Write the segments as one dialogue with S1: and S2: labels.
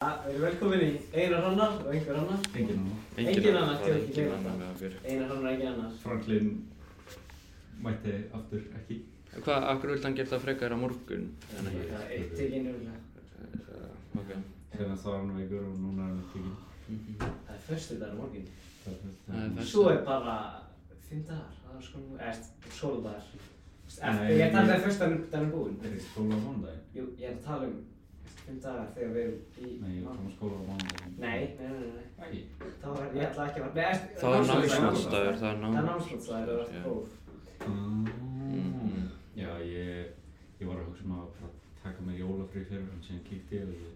S1: Það eru velkomin í Einar Hannar og einhver annar.
S2: Engin annan.
S1: Enginn annar
S3: það
S1: getur
S3: er
S1: ekki
S3: enginn
S1: leyft
S3: annar
S1: það.
S3: með okkur.
S1: Einar Hannar ekki annars.
S2: Franklin mætti aftur ekki.
S3: En Hvað, af hverju vildi hann gera það frekar á morgun? En
S1: Það
S3: ekki,
S1: er eitt tekið njögulega.
S3: uh, ok.
S2: Senast var hann veikur og núna er hann ekki.
S1: Það er förstu dagar morgun.
S2: Það er fyrst.
S3: Það er fyrst.
S1: Svo er bara fimm dagar. Það er sko nú, eða skóla dagar.
S2: Nei,
S1: Ég er að tala um
S2: ég-
S1: þegar förstu dagar er búinn.
S2: Er þið skóla á mánudaginn?
S1: Jú, ég er að tala um fimm dagar þegar við erum í...
S2: Nei, ég kom að um- skóla á mánudaginn.
S1: Nei, nei, nei, nei.
S2: Æ,
S1: Það var, ég ætla ekki að fara. Nei,
S3: Það er
S1: námsmatsdagur.
S3: námsmatsdagur, það er
S1: Það er
S3: námsmatsdagur.
S1: námsmatsdagur, það
S3: Já.
S1: er próf.
S2: Mm.
S3: Mhm.
S2: Ah. Já, ég, ég var að hugsa um að bara taka mig jólafri fyrir en síðan kíkti ég og ég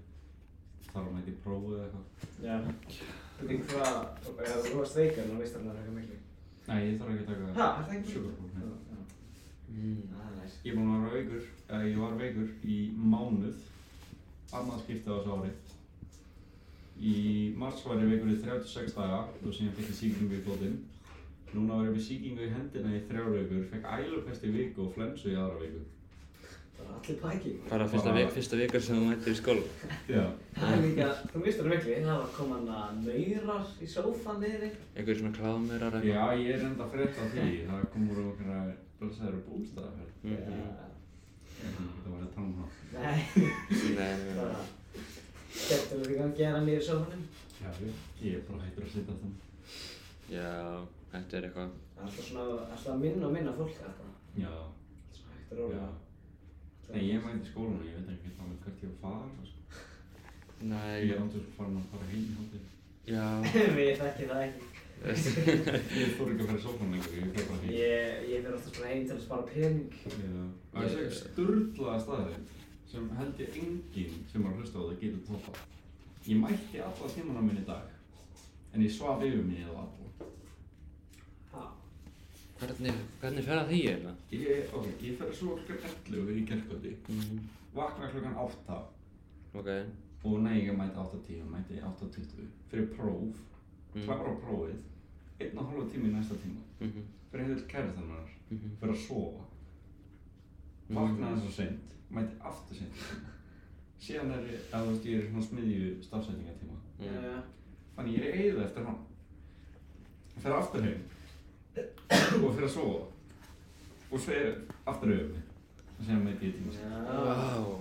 S2: þarf að mæti prófu eða eitthvað.
S1: Já. Þú veit hvað, ef þú varst veikan og veist að það er eitthvað miklu.
S2: Nei, ég þarf ekki að taka
S1: Ha, er það ekki
S2: sjúkrapróf, nei.
S1: Já,
S3: Mm.
S1: það er næst.
S2: Ég er búinn að vera veikur, eða ég var veikur í mánuð, annað skipti á þessu ári. Í mars var ég veikur í 36 daga og síðan fekk ég sýkingu í fótinn. Núna var ég með sýkingu í hendina í þrjár veikur, fekk ælupest í viku og flensu í aðra viku.
S1: Það er allir pæki.
S3: Bara fyrsta,
S2: Bara-
S3: vik, fyrsta vikar sem þú mættir í skóla.
S2: Já.
S1: Það er líka, þú veist það miklu, það var komin að maurar í sófan niðri.
S3: Einhverjir svona kláðmeirar eitthvað.
S2: Já, ég er enda að frétta af því. Það komur okkur að blessaður bústæðaferð.
S3: Mhm.
S2: Það var að tala um það.
S1: Nei,
S3: Nei, nei, nei.
S1: bara, getur þú líka að gera niður í sófanum?
S2: Já, ég- ég er bara hættur að sitja þann.
S3: Já, þetta er eitthvað.
S1: Alltaf svona, alltaf minna og minna fólk þetta.
S2: Já,
S1: Alltaf svona hægt að
S2: já.
S1: róla.
S2: Nei, ég mæti skólan og ég veit ekki alveg hvert ég var að fara. sko. Ég
S3: Nei,
S2: er andur farin að fara heim í hátinn.
S3: já.
S1: Við þekki það ekki.
S2: Ég fór ekki að fara í sófann lengur, ég fór bara heim.
S1: Ég, ég verð alltaf svona heim til að spara pening.
S2: Já. Það er sér sturglaða staðið sem held ég enginn sem var að hlusta á það getur toppað. Ég mætti alla tímana minn í dag, en ég svaf yfir mig eða alla.
S1: Já.
S3: Hvernig, hvernig fer það því hérna? eiginlega?
S2: Ég, ok, ég fer að svo klukkan 11 í kerkvöldi.
S3: Mhm.
S2: Vakna klukkan 8
S3: Ok.
S2: og nei, ég mæti 8.10 og mæti 8.20 fyrir próf,
S3: Mm.
S2: klára á prófið, einn og hálfa tími í næsta tíma,
S3: Mhm.
S2: fyrir heil kærastan hennar,
S3: Mhm.
S2: fyrir að sofa. Vakna þess að seint, mæti aftur seint. í tíma. Síðan er ég, að þú veist, ég er í svona smiðju stafsendingatíma,
S1: Já,
S3: Mm.
S1: já.
S2: þannig ég er í eigið eftir hann. Fyrir aftur heim og fyrir að sofa og svo er aftur auðvitað mig og síðan mæti ég tíma seint.
S1: Já.
S3: Vá.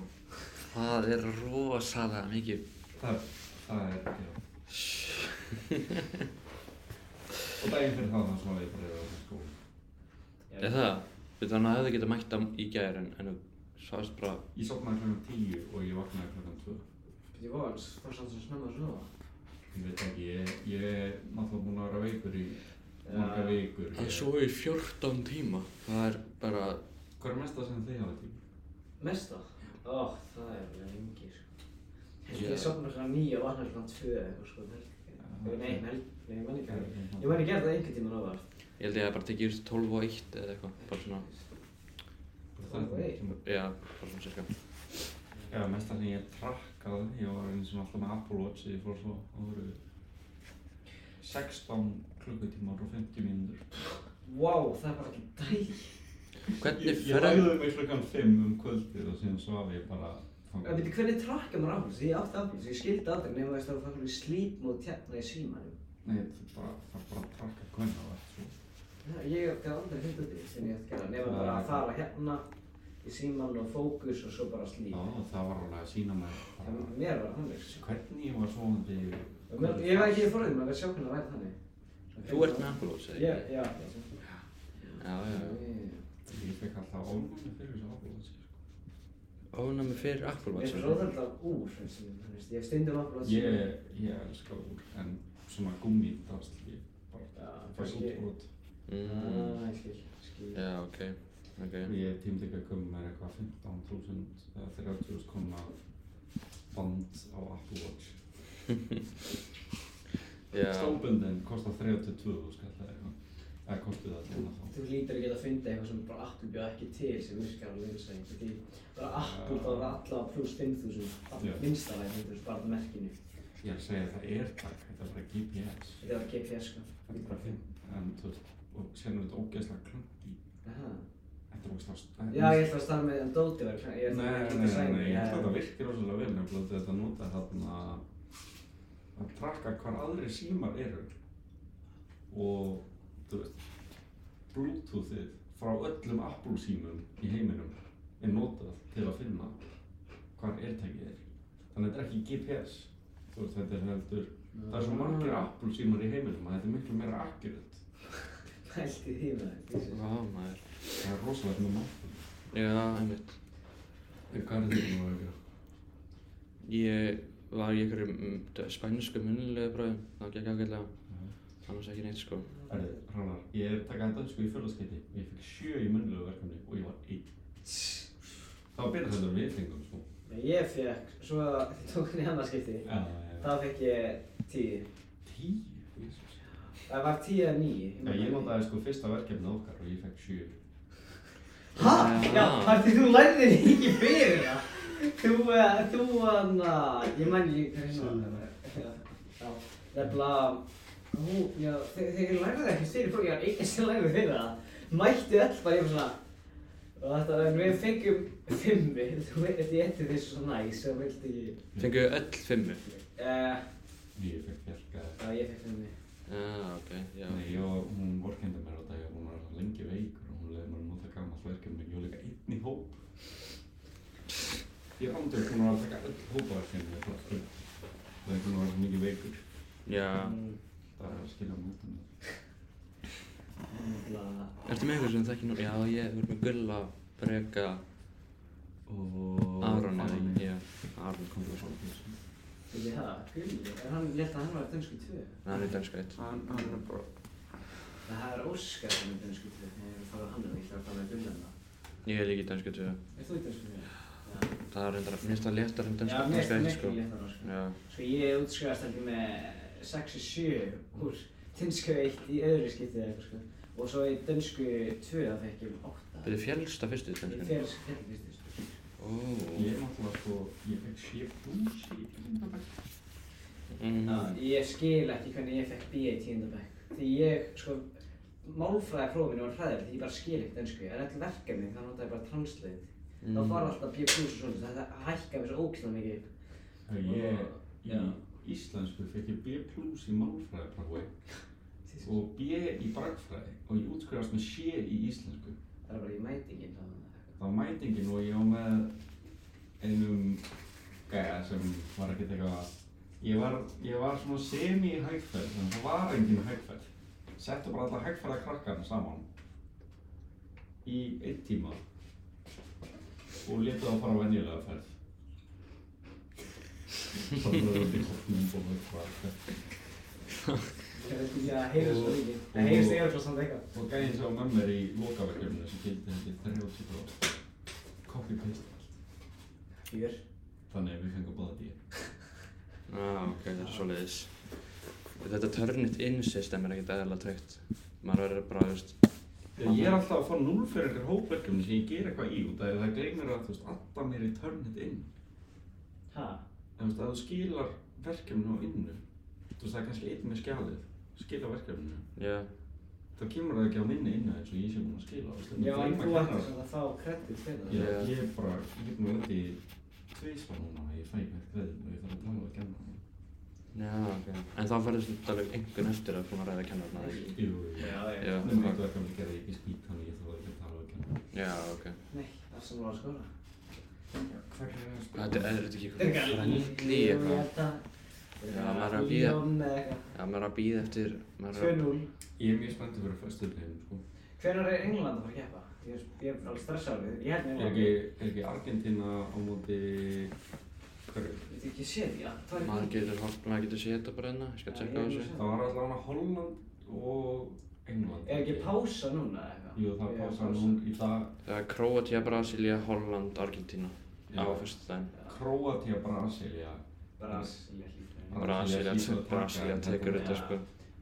S3: Það er rosalega mikið.
S2: Það, það er, já. og daginn fyrir það, þá svaf ég bara yfir á skóla.
S3: Er það? Við þannig að hefðu getað mætt á í gær en, en þú sást bara...
S2: Ég sopnaði klokkan tíu og ég vaknaði klokkan tvö.
S1: Býtti vóðans, fórst hann svona snemma að sofa.
S2: Ég veit ekki, ég, ég er náttúrulega búinn að vera veikur í
S1: Já.
S2: marga vikur. Ég,
S3: í 14 tíma. Það er bara...
S2: Hvað er mesta sem þið hafa tíma?
S1: Mesta? Ó, það er vel lengi, sko. Ég
S3: Já.
S1: yeah. sopna svona nýja og vakna svona tvö eða eitthvað, sko.
S2: Já.
S1: Nei, nei, nei, nei, ég man ekki að
S2: Já.
S1: Ég man ekki að það einhvern tímann ofar.
S3: Ég held ég að bara tekið úr 12 og 1 eða eitthvað. Bara svona...
S2: Það er
S1: Ókei.
S2: tíma.
S3: Já, bara svona cirka.
S2: Já, mesta sem ég trakkaði, ég var eins og alltaf með Apple Watch þegar ég fór svo á voru 16 klukkutímar og 50 mínútur.
S1: Vá, það er bara ekki dæg.
S3: Hvernig
S2: Ég, ég
S3: fer...
S2: lagði mig klukkan 5 um kvöldið og síðan svaf ég bara
S1: En veitir, hvernig trakka maður áfram? Ég átti áfram, ég skildi aldrei nema þess að það var slít mót tjarna hérna í símanum.
S2: Nei, það er bara, það er bara að trakka hvernig það var svo.
S1: Já, Ég átti aldrei hundið því sem ég átti að gera, nema bara að fara hérna í síman og fókus og svo bara slít.
S2: Já, það var alveg að sína mér
S1: En
S2: bara
S1: mér var hann, sko.
S2: hvernig ég var svonandi.
S1: Ég var ekki forðið maður að sjá hvernig það væri þannig.
S3: Þú ert með Apple Watch eða
S1: Já,
S3: ekki?
S1: já.
S3: Já, já, já.
S2: Ég fekk alltaf ónæmi fyrir þessu ábúið.
S3: Ónæmi fyrir Apple
S1: Mér
S3: Watch.
S1: finnst óþægilega úr, finnst mér, þú veist, ég stundum af blóð
S2: Ég, ég elska úr, en svona gummi drast ég bara.
S1: Já,
S2: Fæst
S1: kannski.
S2: útbrot.
S3: Mm.
S1: Ah, ég skil, skil.
S3: Já, ok. Ok.
S2: Ég tímdi ekki að koma mér eitthvað 15.000 eða 30.000 koma band á Apple Watch.
S3: Já.
S2: Stóbundin kostar 32.000 skall eða eitthvað. Eða kostið það til það þá.
S1: Þú lítur ekki að finna eitthvað sem bara Apple bjóð ekki til sem virkar á launsæðing, því bara Apple þá er allavega pluss 5.000,
S2: Já.
S1: minnstalega 5.000 bara á merkinu.
S2: Ég er að segja það er takk, þetta er bara GPS.
S1: Þetta var GPS, sko.
S2: Þetta er bara fint. En þú veist, og sér nú þetta ógeðslega klangi.
S1: Aha.
S2: Þetta er ógeðslega...
S1: Já, ég ætla að starfa með þann Dóti var, ég
S2: Nei,
S1: ætla
S2: nei,
S1: að
S2: nei, nei, ég held að þetta virkir rosalega vel nefnilega þetta nota þarna trakka hvar aðri símar eru og þú veist Bluetoothið frá öllum Apple símum í heiminum er notað til að finna hvar airtagið er þannig að þetta er ekki GPS þú veist þetta er heldur það er svo margir Apple símar í heiminum að þetta er miklu meira akkurat
S1: Pælti því maður. Jesus.
S3: Vá maður.
S2: það er rosalegt með maður
S3: Já, einmitt.
S2: En hvað er þetta nú að gera?
S3: Ég var í einhverjum mm, spænsku munnulegu bröðum. Það gekk ágætlega. Annars ekki neitt sko.
S2: Herri, Hrannar, ég er takað að dansku í fjölaðskeiti og ég fekk sjö í munnulegu verkefni og ég var einn. Það var betra þetta en við fengum, sko.
S1: Nei, Ég fekk, svo að þið tók henni annað skipti,
S2: Já, já,
S1: þá fekk ég tíu.
S2: eh, Tíu, jésús.
S1: Það var tíu eða níu.
S2: Já, ég notaði sko fyrsta verkefni okkar og ég fekk sjö.
S1: Hæ? Já, þar því þú lærði þig ekki fyrir það. Þú, eh, þú, hana, ég man ekki hvernig hérna. Já, nefnilega, hú, já, þe- þegar ég lærði það ekki styrir fólk, ég var eina sem lærði fyrir það. Mætti öll bara, ég var svona, og þetta, en við fengjum fimmi, þú veit, ég ætti því svo næs, og vildi ekki,
S3: Fengu öll fimmu.
S1: eh,
S2: Ég fekk fjarka.
S1: já, ég fekk fimmi.
S3: Já, ok, já.
S2: Nei, ég og hún vorkendi mér á dag og hún var lengi veikur og hún leiði mér að nota gamalt verkefni. Ég var líka einn í hóp. Ég ándur hún var að taka öll hópaverkefni og það er hún var svo mikið veikur.
S3: Já.
S1: Mm,
S2: Það er að skilja mútið mér.
S1: nefnilega,
S3: Ertu með einhver sem þekki nú? Já, ég verður með Gulla, Breka,
S2: Og...
S3: Aron eða
S2: Aron,
S3: ekki. Já, Aron kom þú svona.
S2: Hann,
S1: Veit ég það? Gulli, er hann, ég held að hann var dönsku 2.
S3: Nei, hann er danska eitt.
S1: Ah.
S2: hann er bara...
S1: Það er Óskar sem er dönsku 2, ég er að fara á hann og ég ætla að fara með Gulli hann.
S3: Ég er líka í danska tvö.
S1: Er þú í dönsku 2? Já,
S3: Það er reyndar, mér finnst það léttar en
S1: Já,
S3: danska
S1: mér finnst
S3: danska eitt,
S1: miklu
S3: sko.
S1: léttara, sko.
S3: Já,
S1: Sko ég útskrifast heldur með 6 og 7 úr dönsku 1 í öðru skiptið eða eitthvað, sko. Og svo í dönsku 2 það fekk ég um 8.
S3: byrju fjælsta fyrstu í
S1: Ég
S3: danska.
S1: fyrir þessu fyrir fyrstu, sko.
S3: Ó.
S2: Ég náttúrulega sko, ég fekk sé plús í tíundabæk.
S3: Mhm.
S1: Ég skil ekki hvernig ég fekk B í tíundabæk. Því ég, sko, málfræðarprófinu var hræðilegt, því ég bara skil ekki dönsku. En öll verkefni, þá notaði ég bara translate. þá
S3: Mm.
S1: var alltaf B plus og svona, þetta hækkaði mér svo ógæslega mikið upp.
S2: Ég í
S1: Já.
S2: íslensku fekk ég B plús í málfræðiprófi og B í brakfræði og ég útskrifast með sé í íslensku.
S1: Það er bara í mætingin þá.
S2: Það var mætingin og ég var með einum gæja sem var ekkert eitthvað að... Ég var, ég var svona semi-hægferð, þannig að það var engin hægferð. Settu bara alla hægferða krakkarna saman í einn tíma og letu það fara á venjulega ferð. Þannig að það var hóknum og eitthvað.
S1: Ég veit ekki að heyra svo
S2: Og-
S1: mikið.
S2: og-
S1: Það heyrist ég alltaf samt eitthvað.
S2: Og gæjinn sem var með mér í lokaverkefninu sem gildi held ég 30 gráð. Copy-paste allt.
S1: Fjör.
S2: Þannig að við fengum báða dýr.
S3: Já, ok, það er svoleiðis. Þetta törnit inn system er ekkert eðalega tryggt. Maður verður bara, þú veist,
S2: Já, Ég er alltaf að fá núl fyrir einhver hópverkefni sem ég ger eitthvað í út af því að það gleymir að þú veist, alltaf mér í törnit inn.
S1: Ha?
S2: En þú veist, að þú skilar verkefni á innu, þú veist, það er kannski einn með skjalið, skila verkefninu.
S3: já.
S2: Þá kemur það ekki á minni innu eins og ég sé búinn að skila. veist, en
S1: Já, en
S2: gleyma
S1: þú
S2: að kenna
S1: ætti svona að fá kredit fyrir
S2: það.
S1: það.
S2: Ég- Ég er bara, ég get nú öndi tvísvar núna að ég fæ mér greiðin og ég þarf að tala að kenna það.
S3: Já, ok. En þá verður þetta alveg einhvern eftir að búin að ræða kennarna, eða ekki?
S2: Jú, jú.
S1: já.
S3: Já,
S2: Nefnum eitt verkefni gerði ég ekki skýt, þannig ég þarf ekki að tala að kenna það.
S3: já, ok.
S1: Nei, það er sem var að skora.
S3: Þetta er þetta ekki
S1: Þetta
S3: eitthvað frendli eitthvað. Já, maður er að bíða.
S1: bíða.
S3: Já, maður er að býða eftir, maður er að...
S1: 2-0.
S2: Ég er mjög spenntið fyrir föstudeginum, sko.
S1: Hvenær er England að fara að keppa? Ég er- Ég er alveg stressaður við. Ég held
S2: Er
S1: með
S2: ekki,
S1: England.
S2: er ekki Argentina á móti hverju?
S1: Ég veit ekki séð, já. Það er
S3: Maður getur, hort- maður getur séð þetta bara hérna, ég skal
S1: Já,
S3: tjekka á
S1: ég er
S3: þessu.
S1: með
S2: Það var allavega Holland og England.
S1: Er ekki pása núna eða eitthvað?
S2: Jú, það
S1: Ég er
S2: pásar hún í dag.
S3: Það er Króatia, Brasilia, Holland, Argentína. Á fyrstu daginn.
S2: Króatia, Brasilia.
S1: Brasilia hlýtur en
S2: Bra-
S3: Brasilia,
S2: Brasilia hlýtur að taka
S3: Brasilia
S2: þetta.
S3: tekur þetta, sko.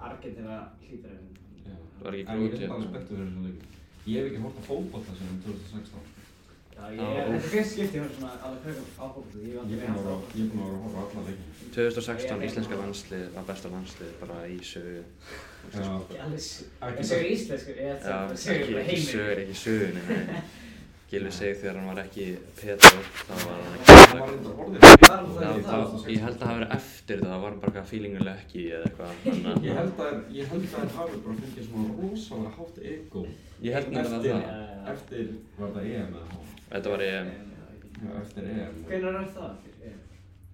S1: Argentina hlýtur en
S2: Já.
S3: Það var ekki
S2: En ég
S3: Króatía,
S2: er bara
S3: já.
S2: spenntur fyrir þessum leikum. Ég hef ekki hort að fótbolta sem 2016. sko.
S1: Já, ég
S3: Já,
S1: er,
S3: ó.
S1: þetta er fyrst skipti ég var svona alveg hverjum áfólkið, ég var
S2: Ég
S1: aldrei
S2: er
S1: með
S2: búinn að
S1: hans
S2: vera- ég er búinn að vera að horfa á alla leikina.
S3: 2016, íslenska landslið, var besta landslið, bara í sögu.
S2: Já,
S1: Ég alveg, s-
S2: Ekki
S1: ég segur íslensku, ég ætla
S3: Já,
S1: að
S3: ekki,
S1: segja bara
S3: ekki
S1: heiminn.
S3: sögur, ekki sögur, nei, nei. Gilvi segir þegar hann var ekki Petur, þá var hann ekki
S2: Það var
S3: eitthvað.
S2: reyndar orðið fyrir
S1: Var hún
S3: Já,
S1: það í
S3: það,
S1: það?
S3: ég held að það hafi verið eftir það, það var bara eitthvað feelingulega ekki eða eitthvað þannig
S2: Ég
S3: að-
S2: held að, ég held að þær hafi bara fengið svona rosalega hátt ego
S3: Ég held nefnilega
S2: Eftir-
S3: það.
S2: Eftir, var það EM eða hvað?
S3: Þetta var ég,
S2: Já, eftir EM
S1: Hvenær er það? Er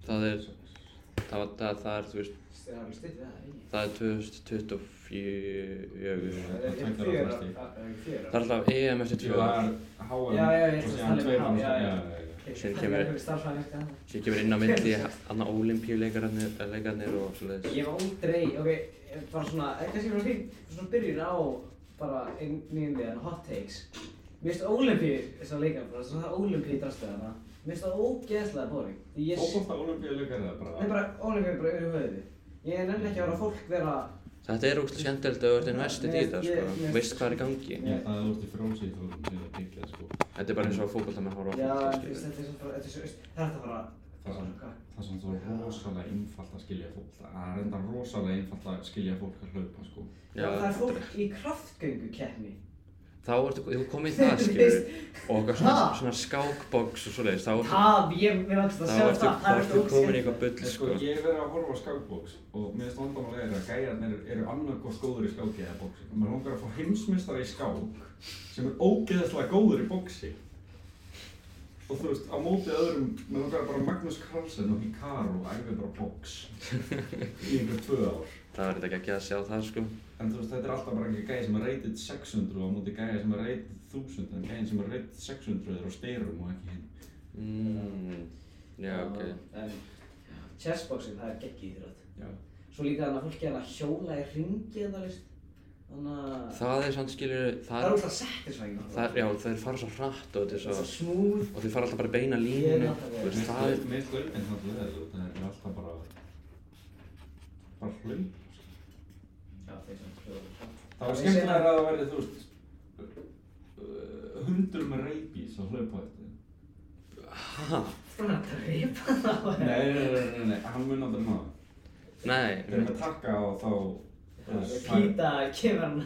S3: það er, það, var- það, það er, þú veist,
S1: það alveg stutt við það? ekki?
S3: það er 2024.
S1: Er ekki
S2: tveggja ára
S1: fjögur?
S2: fresti.
S1: Er ekki fjögur?
S3: Það er alltaf EM eftir
S2: Ég
S3: tvö ár.
S2: var HM
S1: Já, já, ég
S2: og
S1: ætla að
S2: síðan
S1: tala um
S2: tveir
S1: hann,
S2: manns-
S1: já, já.
S2: já, já.
S3: Síðan
S1: Það
S3: kemur-
S1: er ekki starfsfæðan eftir það.
S3: Sér kemur inn á milli annað ólimpíuleikarnir leikarnir og svoleiðis.
S1: Ég hef aldrei, ok, bara svona, eh, kannski bara fínt, svona byrjun á bara nýjumliðan hot takes. Mér finnst Olympíu, þess að leika, bara svona Olympíu drastuð hana, mér finnst það ógeðslega boring. Því ég,
S2: Fótbolta olimpíuleikar eða bara?
S1: það er bara Olympíu bara yfir höfuði. Ég nefn ekki að vera fólk vera,
S3: Þetta er ógst skemmtilegt að verða investið í þetta, sko. Veist hvað er í gangi.
S2: Ég held að þú ert í frjómsið þú séð að byggja sko
S3: Þetta er bara eins og fókbalta með horfa á
S1: já,
S3: fókbalta,
S1: þú veist,
S3: skilur.
S1: þetta er svo bara, þetta er svo, það er þetta bara,
S2: Það sem, það sem þú er rosalega einfalt að skilja fótbolta Það er enda rosalega einfalt að skilja fólk að hlaupa sko
S1: Já, það er
S3: Já,
S1: fólk í kraftgöngu keppni.
S3: þá ertu, þú komið í það, skilur. Og okkar svona,
S1: Ha?
S3: svona skákboks og svoleiðis, þá ertu,
S1: Það, ég, mér vannst að
S3: þá
S1: sjá það,
S3: ertu, þá
S1: það er
S3: ertu
S1: ógeðslega-
S3: komin í eitthvað bull,
S2: Sko,
S3: sko.
S2: ég hef verið að horfa á skákbóks og mér finnst vandamál er að gæjarnir eru annarkoð góður í skáki eða bóksi. Mér langar að fá heimsmyndstara í skák sem er ógeðslega góður í bóksi. Og þú veist, á móti öðrum, mér langar bara Magnús Carlsen og Hikaru að æfi bara bóks í einhver tvö ár.
S3: Það verður ekki að sjá það, sko.
S2: En þú veist, þetta er alltaf bara ekki gæði sem er rated 600 og á móti gæði sem er rated 1000 en gæðin sem er rated 600 er á styrum og ekki hinn.
S3: Mm, já, ok.
S1: En chessboxing, það er geggið íþrótt.
S2: Já.
S1: Svo líka þannig að fólk er að hjóla í ringi eða veist. Þannig að
S3: Það er sann, skilur,
S1: það
S3: það
S1: er
S3: er,
S1: alltaf settisvæðing.
S3: það er, já, þeir fara svo hratt og þetta er
S1: svo
S3: svo,
S1: smúð.
S3: og þeir fara alltaf bara í beina línu, þú
S2: Mér
S3: veist, það er,
S2: finnst- mér finnst hlaupin það leðið út, það er alltaf bara bara hlaup
S1: Já, þeir sem hljóða.
S2: Það var skemmtilega að það væri, þú veist uh, hundur með reybís að hlaupa þetta
S3: ha,
S1: Svona að drepa það á
S2: Nei, nei, nei, nei, nei, hann mun aldrei ná það. Þeir eru
S3: nei,
S2: með takka á þá
S1: Pýta kemur hann.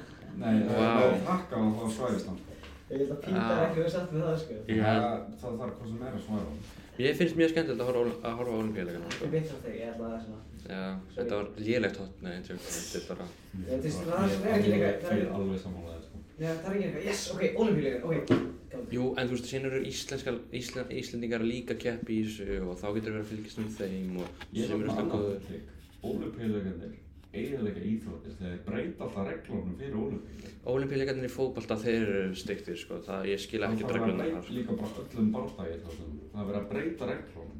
S2: Nei, þeir eru
S3: Vá.
S2: með takka á þá svæðist hann
S1: Ég vil að pýta
S3: Já.
S1: ekki verið satt með það, sko.
S3: ég held,
S2: Það það þarf hvað sem er að svæða hann
S3: Ég finnst mjög skemmtilegt að horfa, á- að horfa á olimpíuleikana, sko.
S1: Ég veit það þegar, ég ætla að það er svona.
S3: Já, þetta var lélegt hot, nei, tjók, þetta er bara...
S1: Já, þú veist, það er svo- það er ekki líka-
S2: Ég er alveg sammála þér, sko
S1: Nei, það er ekki eitthvað. Yes, ok, olimpíulegur, ok. gangi.
S3: Jú, en þú veist, síðan eru íslenskar, íslen, íslendingar líka kepp í þessu og þá getur verið að fylgjast með þeim og
S2: Ég
S3: sem
S2: er
S3: eru sko-
S2: með
S3: alltaf
S2: annað
S3: góður.
S2: trygg Ólympíuleikarnir eiginlega íþróttir þegar þeir breyta alltaf reglunum fyrir ólympíuleik
S3: Ólimpíuleikarnir í fótbolta, þeir eru stygtir, sko, það, ég skil
S2: Það
S3: ekki
S2: var
S3: regluna
S2: breyt-
S3: þar, sko.
S2: líka bara öllum bardagi þá sem það er verið að breyta reglum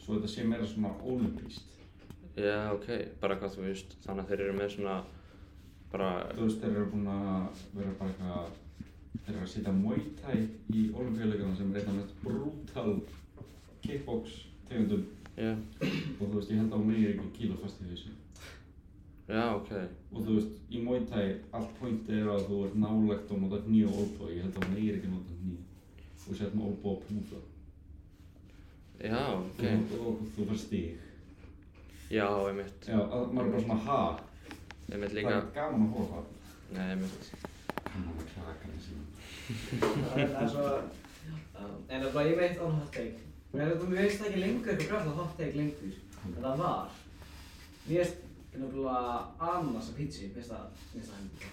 S2: svo þetta sé meira svona ólimpíst
S3: Já, ok, bara hvað þú veist, þannig að þeir eru með svona, bara,
S2: þú veist þeir eru búin að vera bara eitthvað þeir eru að setja Muay Thai í ólimpíuleikana sem er eitthvað mest brútal kickbox tegundum
S3: já,
S2: og þú veist ég held að hún megi ekki kíla fast í þessu
S3: já, ok.
S2: og þú veist í Muay Thai allt point er að þú ert nálægt og nota nýja olbó ég held að hún megi ekki nota nýja og setja með olbó að púða
S3: Já, ok.
S2: og, og, og þú fær stíg
S3: Já, einmitt,
S2: já, að maður er bara svona ha
S3: einmitt
S2: það
S3: líka,
S2: er gaman að horfa á.
S3: nei, einmitt.
S2: Hann var krakkarnir sína.
S1: Það er- það er svo... Um, En það er bara, ég veit on hot take. Mér finnst- mér finnst það ekki lengur eitthvað græfla hot take lengur. En það var. Mér finnst nefnilega ananas að pítsi, mér finnst það, mér finnst það henni.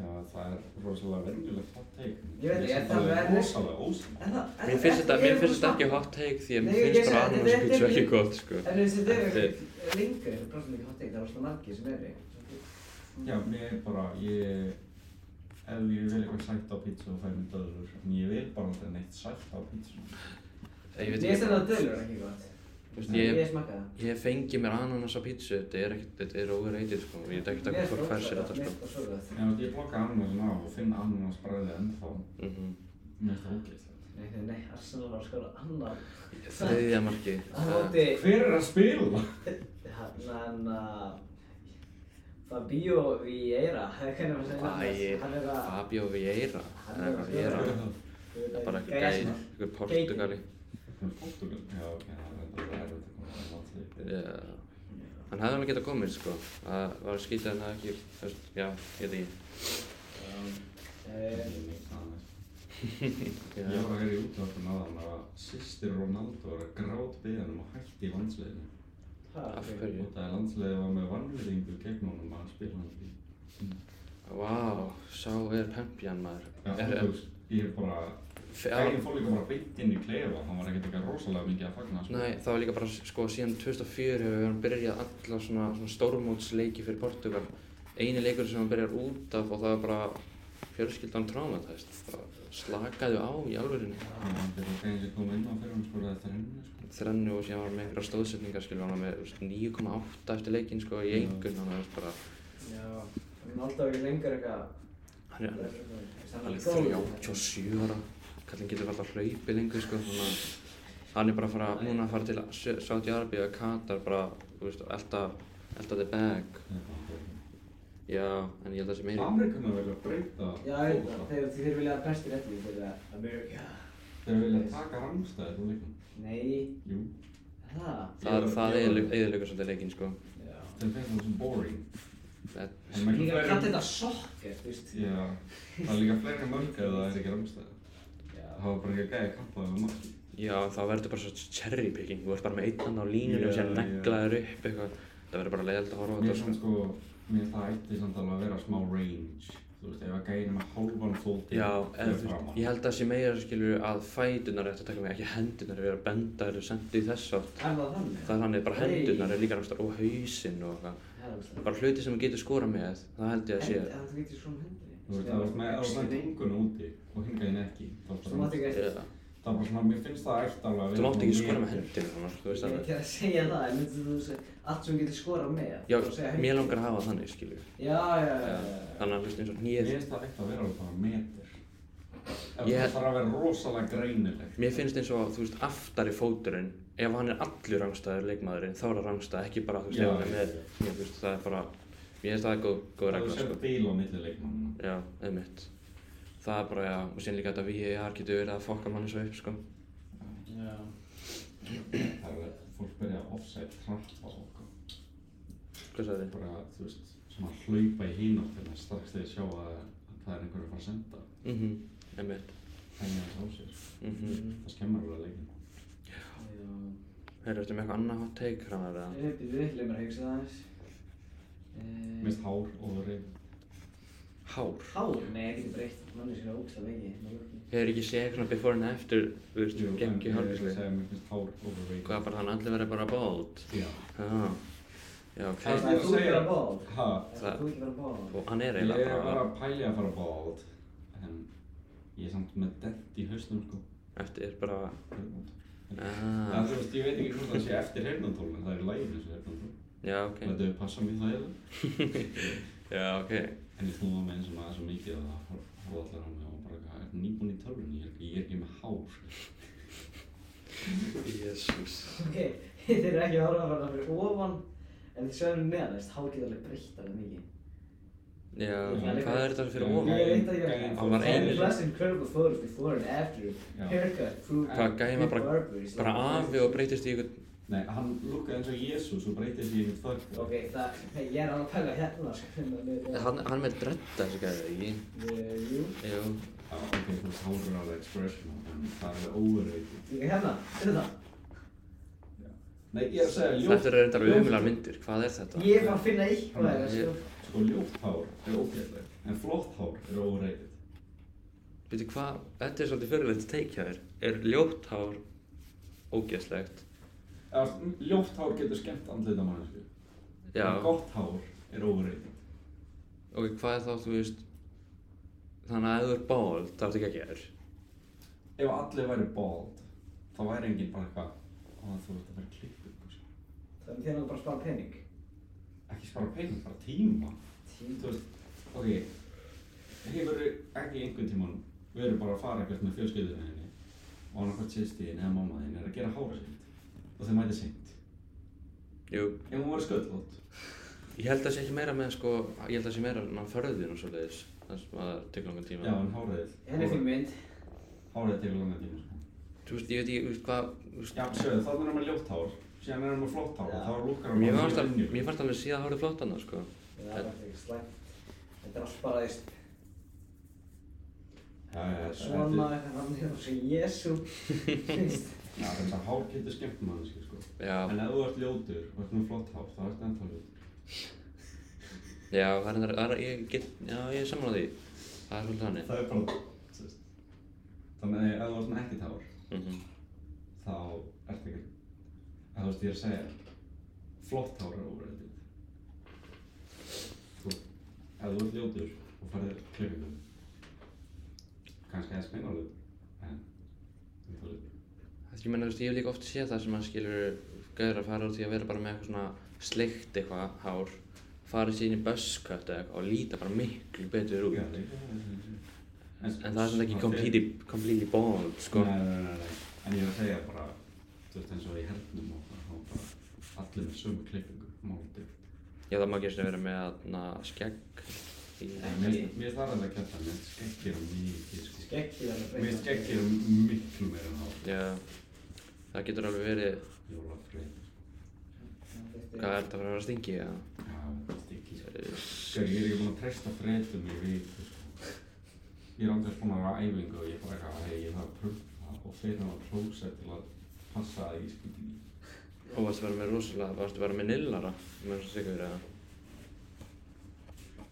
S2: Já, það er rosalega venjulegt hot take.
S1: Ég veit ekki, það
S2: Mér finnst alveg
S1: verður-
S2: Rosalega ósætt.
S1: En það-
S3: Mér finnst þetta, mér finnst þetta ekki hot take því að mér finnst bara annars pizza ekki gott, sko.
S1: En þú veist, þetta er ekki lengur eitthvað græfla hot take, það var svona margir sem er í.
S2: Já, mér er bara, ég... Ef ég vil eitthvað sætt á pizza og fæ mér döðlur, en ég vil bara aldrei neitt sætt á pizza.
S3: Ég
S1: Mér
S3: veit
S1: finnst
S3: ekki,
S1: þetta dölur ekki gott.
S3: þú veist, ég,
S1: Ég smakka það.
S3: Ég fengi mér ananas á pítsu, þetta er ekkert, þetta er overrated sko, ég veit
S1: Mér
S3: ekkert að
S1: finnst
S3: hvað fær sér
S1: ógeðslega
S3: þetta
S1: gott, mér finnst
S3: sko.
S1: það svo gott.
S2: En þú veist, ég blokka ananasin af og finn ananasbræðið ennþá.
S3: Mm
S2: Mér finnst það ógeðslegt.
S1: Nei, nei, nei, Arsenal var að skora annar.
S3: Þriðja marki.
S1: Það
S3: það-
S1: móti
S2: Hver er að spila?
S1: Þannig að uh, Fabio Vieira, hvernig var það að
S3: Æ,
S1: segja hann? Hann er að,
S3: Fabio Vieira,
S1: Hann
S3: eða
S1: er
S3: eitthvað
S1: að-
S3: Vieira,
S1: það
S3: bara eitthvað gæði, eitthvað portugali.
S2: Hún er Portugal. Já, ok, það er þetta verður að koma að landslið.
S3: Já. Hann hefði alveg getað komið sko, það var að skýta en það ekki, þú veist, já, ég veit ekki.
S1: Eh,
S2: Ég veit það aðeins. Ég var að heyra í útvarpinu aðan að sýstir Ronaldo var að grát beðanum að hætti í landsliðinu.
S3: Af hverju?
S2: Og það er landsliðið var með vannverðingu gegn honum að spila hann í.
S3: Vá, sá er pempjan maður.
S2: Já,
S3: Er-
S2: þú veist, ég er bara,
S3: Fe-
S2: þegar fór líka bara beint inn í klefa, hann var ekkert eitthvað rosalega mikið að fagna. sko.
S3: Nei, það var líka bara, sko, síðan 2004 hefur hann byrjað alla svona, svona stórmótsleiki fyrir Portugal. Eini leikur sem hann byrjar út af og það var bara fjölskyldan traumatæst. Það slakaði á í alvörinni.
S2: Já, hann er okkar eins og kom inn á fyrir hann skoraði þrennu, sko.
S3: Þrennu og síðan var hann með einhverja stóðsetningar, skilur hann var með þú veist, 9,8 eftir leikinn, sko, í
S2: Já.
S3: einhvern, þannig að það var bara,
S1: Já, hann er alltaf ekki lengur eitthvað.
S3: hann er alveg
S1: Hann
S3: alveg 37 ára. Kallinn getur alltaf hlaupi lengur, sko, þannig að hann er bara að fara, núna að fara til Sau- Saudi Arabia og Katar, bara, þú veist, elda, elda the bag. Já, en ég held að það sé meira
S2: Amerikanar vilja breyta
S1: Já, ég veit það,
S2: fótbolta.
S1: þeir, þeir vilja að prestir eftir því þegar það America.
S2: Þeir vilja taka rangstæði úr leiknum.
S1: Nei,
S2: Jú.
S1: það?
S3: Það,
S2: Ég-
S3: það
S2: ég-
S3: eðilegur svolítið leikinn sko
S1: Já.
S2: Þeir finnst það svo boring.
S3: Það-
S2: Það er
S1: Líka
S2: miklu
S1: að kalla
S2: fleiri-
S1: þetta sokker, þú veist.
S2: Já, það er líka fleiri mörg ef það er ekki rangstæði.
S1: Já.
S2: Það var bara ekki að gæja kappa við marki.
S3: Já, það verður bara svo cherry picking Þú ert bara með einn hann á
S2: Já,
S3: línunum yeah, sem
S2: já.
S3: neglaður upp eitthvað Það verður bara leiðilegt að horfa á
S2: Mér
S3: þetta
S2: finnst
S3: sko
S2: sko, mér finnst það ætti samt alveg að vera smá range. Þú veist, ef að gæja með hálfan fóti
S3: Já, eða
S2: fyrir
S3: þú veist,
S2: framan.
S3: ég held að það sé meira skilur að fætunar eftir að taka mig ekki hendunar við erum að benda þér og senda í þess átt
S1: Er það þannig?
S3: Það er þannig bara
S1: Nei.
S3: hendunar er líka náttúrulega og hausinn og eitthvað
S1: Það er ógeðslega.
S3: Bara hluti sem þú getur skora með, það held ég að
S1: Hendi-
S3: sé
S1: Það getur svona hendur.
S2: Þú veist, það var með, ef það er tungunum úti og hingaði henni ekki, þá er
S1: Þú
S2: bara
S1: mátt ekki eftir.
S3: Já.
S2: Það er bara svona, mér finnst það ætti alveg að
S3: Þú mátt ekki skora með
S2: henni.
S3: hendunar annars, þú
S1: Ég
S3: veist
S1: er
S3: það
S1: ekki að segja það, en myndir þú segja allt sem getur skorað með.
S3: Já,
S1: þú segja
S3: mér
S1: hendur.
S3: langar að hafa þannig skilur
S1: Já, já, já, já.
S3: Þannig að þú veist eins og
S2: Mér
S3: hnýð
S2: finnst það ætti að vera alveg bara meter. Ef
S3: Ég-
S2: Það þarf að vera rosalega greinilegt.
S3: Mér finnst eins og, þú veist, aftari fóturinn, ef hann er allur rangstæður leikmaðurinn, þá er það rangstæð, ekki bara, þú veist,
S2: Já,
S3: ef hann
S2: já,
S3: er með, ég, þú veist, það er bara, mér finnst það er góð, góð
S2: Það
S3: regla,
S2: er sér
S3: sko.
S2: bíl á milli leikmannina.
S3: Já, einmitt. Það er bara, já, og síðan líka þetta VAR getur verið að fokka manni svo upp, sko.
S1: Já.
S2: Það er að fólk byrja að offside trappa og okkur.
S3: Hvað sagði þið?
S2: Bara, þú veist, svona hlaupa í hínáttina strax þegar þeir sjá að, að það er einhverju að fara að senda.
S3: Mhm, einmitt.
S2: Hengja þess á sér.
S3: Mhm.
S2: Það skemmar alveg leikinn.
S1: Já.
S3: Heyrðu, ertu með eitthvað annað hot take hranar eða?
S1: Ég byrði ekki, leið Eh, mér að hugsa það aðeins. Eh,
S2: Mér finnst hár og reynd.
S3: Hár.
S1: Hár? Nei, ég get breytt manni sér ógst af vegi.
S3: Hefur ekki séð eitthvað before and after, þú veist, geggjum
S2: ég er að
S3: hárgjörslu?
S2: segja, mér finnst hár og reynd.
S3: Hvað, bara þannig að allir verið bara bald?
S2: Já.
S3: Já. Já, ok.
S2: Það er
S1: Það er þú ekki
S2: segja-
S1: að bóð.
S2: Ha,
S3: Það-
S1: Þú ekki að bóð.
S3: Og hann er
S2: ég er
S3: eiginlega
S2: bara
S3: bara
S2: að pæli að fara bald. En ég er samt með dent í hausnum, sko.
S3: eftir bara, Ah.
S2: Það
S3: aaa,
S2: er þú veist, ég veit ekki hvort það sé eftir heyrnantólun, en það er í læginu þessu heyrnantólun.
S3: já, ok.
S2: Þetta er passa mér það eða.
S3: Já, ok.
S2: En ég snúða með eins og maður svo mikið að það horfa allar á mig og bara eitthvað, er nýbúinn í tölvunni, ég er ekki, ég er ekki með hár.
S3: Jésús.
S1: Ok, þeir eru ekki að horfa að fara fyrir ofan, en þeir sverjum neðan, þess, hár geta alveg breytt alveg mikið.
S3: Já,
S2: Já,
S3: en hvað er þetta fyrir
S2: já,
S3: ofan?
S2: já.
S1: Ég veit að ég
S2: Gæinn
S1: ekki.
S3: fór- Gæinn-
S1: Plus incredible photos before and after.
S2: Já.
S1: Haircut, proof.
S3: Hvað, gæinn var bara- Bara afi og breytist í ykkur...
S2: Nei, hann lukkaði eins og Jésús og breytist í einhvern þörf.
S1: Ok, það, hey, ég er alveg að pæla hérna, sko.
S3: Hann, hann með dredda þessu gæði, ekki?
S1: Eh, Jú,
S3: Jú.
S2: Já, ok, þú veist, hár er alveg expression, en það er overrated.
S1: líka hérna, þetta það.
S2: Nei, ég er að segja, ljótt,
S3: Þetta eru reyndar umular myndir. Hvað er þetta?
S1: Ég er bara að finna eitthvað eða sko.
S2: sko, ljótt hár er ógeðlegt, en flott hár er overrated.
S3: Veitu hvað? Þetta er svolítið fyrirlegt take hjá þér. Er ljótt hár ógeðslegt?
S2: Eða, mm, ljótt hár getur skemmt andlita mannesku.
S3: Já.
S2: En gott hár er overrated.
S3: Ok, hvað er þá, þú veist... Þannig að ef þú er ból, þá ertu ekki að gera.
S2: Ef allir væri bald, þá væri enginn bara eitthvað, "Ó, þú veist, það væri klippur, sko.
S1: Þannig þér er bara að spara pening.
S2: Ekki spara pening, bara tíma.
S1: Tíma.
S2: Þú veist, ok, hefur ekki einhvern tímann verið bara að fara eitthvað með fjölskyldunni þinni og hann hvort sýstiðin eða mamma þinn er að gera hára sitt og þeir mæta seint.
S3: Jú.
S2: Ef hún var sköllótt,
S3: Ég held að það sé ekki meira með, sko... Ég held að það sé meira með förðin og svoleiðis. Það sem að það tekur langan tíma.
S2: já en háraðið,
S1: Henni fyrir mynd.
S2: háraðið tekur langan tíma. sko.
S3: Þú veist, ég veit ekki, þú veist, hvað... þú veist-
S2: Já, sjöðu, þannig er hann með ljótt hár, síðan er hann með flott hár
S1: Já.
S2: og þá lukkar hann
S3: Mér
S2: bara mjög
S3: fannst al-
S2: inn í.
S3: mér fannst alveg síðan hárið flott annað, sko.
S1: Það er bara ekki slæmt. Þetta er allt bara því
S2: Já, já, þetta-
S1: svona
S2: þetta-
S1: eitthvað hann hefur svo jésu finnst
S2: Já, þetta hár getur skemmt mannski, sko.
S3: Já,
S2: En ef þú ert ljótur og ert með flott hár, þá ert ennþá ljótur.
S3: já, það er, það er, það er, ég get, já, ég er saman á því. Það er svolítið hannig.
S2: Það er bara, þú veist. Þannig að ef þú ert með ekkert hár,
S3: Mm
S2: Mhm.
S3: -hmm.
S2: þá ert ekki, að þú veist, ég er að segja, flott hár er óreitið. Þú, ef þú ert ljótur og farið klippingum, kannski eða spennar ljótur, en ennþá ljótur.
S3: Ég meina, þú veist, ég hef líka oft séð það sem að skilur gauður að fara úr því að vera bara með eitthvað svona sleikt eitthvað hár, fara síðan í buskött eða eitthvað og líta bara miklu betur út.
S2: Já, líka,
S3: En það er svona ekki
S2: Svona
S3: completely, completely bald, sko.
S2: Nei, nei, nei, nei, en ég er að segja bara, þú veist eins og í hernum og það, þá var bara allir með sömu klippingu, máldi.
S3: Já, það má ekki einu sinni vera með aðna skegg í...
S2: En mér mér þarf alveg að kjarta, mér finnst skeggir um mikið, sko.
S1: skeggið alveg
S2: Mér finnst skeggir um miklu meira en hálf.
S3: Já, það getur alveg verið,
S2: Jólafrið.
S3: hvað er þetta að fara að vera stingi, já?
S2: Já, þetta er stikki, sko.
S3: Eh,
S2: Gauð, ég er ekki búinn að treysta fredum í viku, sko. Ég er andres búinn að vera á æfingu og ég er bara eitthvað, hei, ég þarf að prumpa og fyrir hann á klósett til að passa að ég skilji í.
S3: Og varstu að vera með rosalega, varstu að vera með nillara, með svona sigur, eða?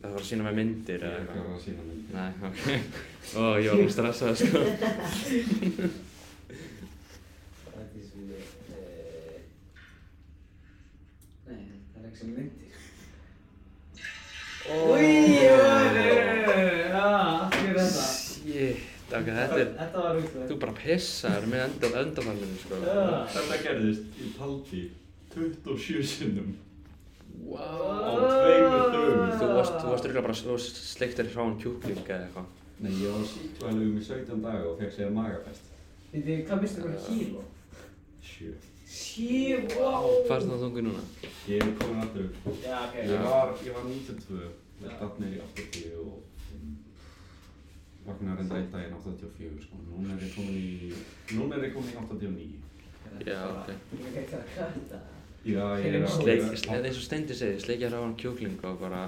S3: Það var að sína með myndir,
S2: Ég er ekki
S3: eða
S2: að
S3: eitthvað?
S2: vera að sína myndi.
S3: Nei, ok. Ó, ég var alveg stressað, sko.
S1: það er því sem ég eh, nei, það er ekki sem myndir
S3: Oh.
S1: Új, já, allt fyrir þetta
S3: Shit, ok, þetta er,
S1: Þetta var útlægt.
S3: þú bara pissaður með enda, endafarminu, sko.
S1: Já.
S2: Þetta gerðist í taldi 27 sinnum.
S3: Wow.
S2: tveimur dögum.
S3: Þú varst, þú varst rúglega bara, þú varst sleiktir hráan kjúkling eða eitthvað.
S2: Nei, ég var síkvæðlegum í 17 daga og fekk sér magafest.
S1: Þið, hvað mistu bara kíló?
S2: Sjö.
S1: Kíló, wow!
S3: Hvað er það þungu núna?
S2: Ég er komin aftur.
S1: Já, ok.
S2: Ég var, ég var 92, með datt niður í 80 og vaknaði reynda einn daginn 84 sko. Núna er ég komin í, núna er ég komin í 89.
S3: Já, ok.
S1: Ég get það að kvarta.
S2: Já, ég er að...
S3: Sleik, þetta er eins og Steindi segir, sleikja hráan kjúkling og bara,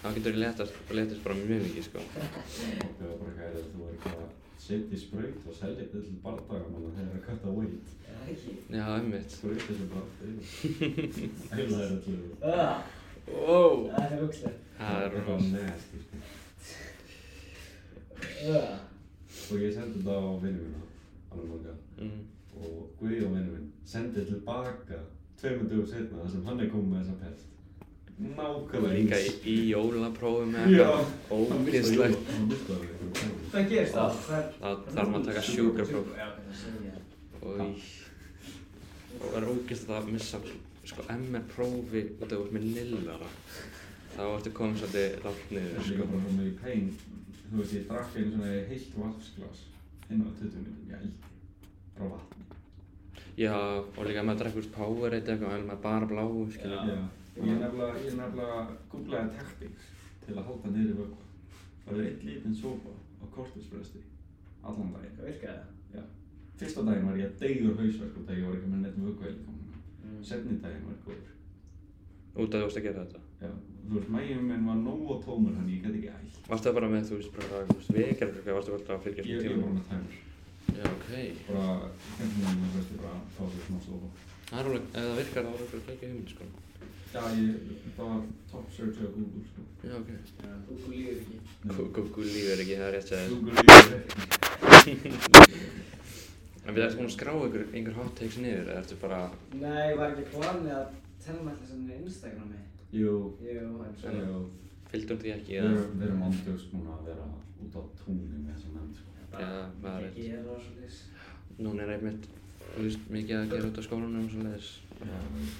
S3: þá getur þú letast, letast bara mjög mikið, sko.
S2: Það var bara eitthvað, þú er ekki að setja í spraut og selja þetta til bardagamanna þegar það er að kvæta weight.
S1: Já, ekki.
S3: Já, einmitt.
S2: Sprauta sem bara fyrir. Heila er öllu.
S1: Ah,
S3: Wow.
S1: Það er útlægt.
S3: Það er
S2: Eitthvað
S3: rosa.
S2: nasty, sko.
S1: Ah,
S2: og ég sendi þetta á vinnu minna, hann langa,
S3: Mm.
S2: og Guðjón vinnu minn sendi tilbaka tveimur dögum setna þar sem hann er komið með þessa pest. Nákvæmlega
S3: Líka í, í jólaprófum eða
S2: Já.
S3: eitthvað. Ógeðslegt.
S2: Hann mistaði einhverjum kæmum.
S1: Hvað gerist þá? Það-
S3: Það þarf maður að taka sjúkrapróf.
S1: Já, ok, það Ah, sé ég.
S3: Og í... Og það er ógeðslegt að missa, sko, MR-prófi út af út með nillara. Þá ertu komið svolítið langt niður,
S2: Líka
S3: sko.
S2: bara svona í pain, þú veist ég drakk einu svona heilt vatnsglas inn á 20 minnum, já, frá vatni.
S3: Já, og líka maður drekkur Powerade eitthvað, en maður bara bláu, skilja.
S1: Já.
S2: Ég nefnilega, ég nefnilega googlaði taktík til að halda niðri vöku. Það er eitt lítinn sopa á kortisbresti, allan daginn.
S1: Hvað virkaði það?
S2: Já. Fyrsta daginn var ég að deyður hausverk og þegar ég var ekki með neitt vökuvel í kominu.
S1: Mm.
S2: Setni daginn var góður.
S3: Út af þú varst að gera þetta.
S2: Já, þú veist, mægjum minn var nógu og tómur, þannig ég gæti ekki ætt.
S3: Varstu það bara með, þú veist, bara, þú veist, vegar eða eitthvað, varstu bara að
S2: Ég
S3: fylgjast
S2: ég var
S3: með
S2: bara
S3: tímanum?
S2: með tæmur.
S3: Já, ok.
S2: Bara, hérna minn var fyrst bara að fá sér smá sopa.
S3: Það er alveg, ef það virkar, þá er alveg ekki hugmynd, sko.
S2: Já, ég, það var top search á Google, sko.
S3: Já, ok.
S1: Já, Google líður ekki.
S2: Mm.
S3: Kúkú lífur ekki, það er rétt að
S2: Google líka.
S3: En við ertum búin að skrá ykkur, einhver hot takes niður, eða ertu bara,
S1: Nei, var ekki planið að telma alltaf svona Instagrami?
S2: Jú,
S1: Jú, hann svo.
S2: jú.
S3: fylgdum því ekki,
S2: Við
S3: eða?
S2: erum- við erum andjóks núna að vera út á túnni með þessa menn, sko.
S3: Já, maður er-
S1: Ekki ég er á svona þess.
S3: Núna er einmitt, þú veist, mikið að gera út á skólanum og svoleiðis.
S2: Já,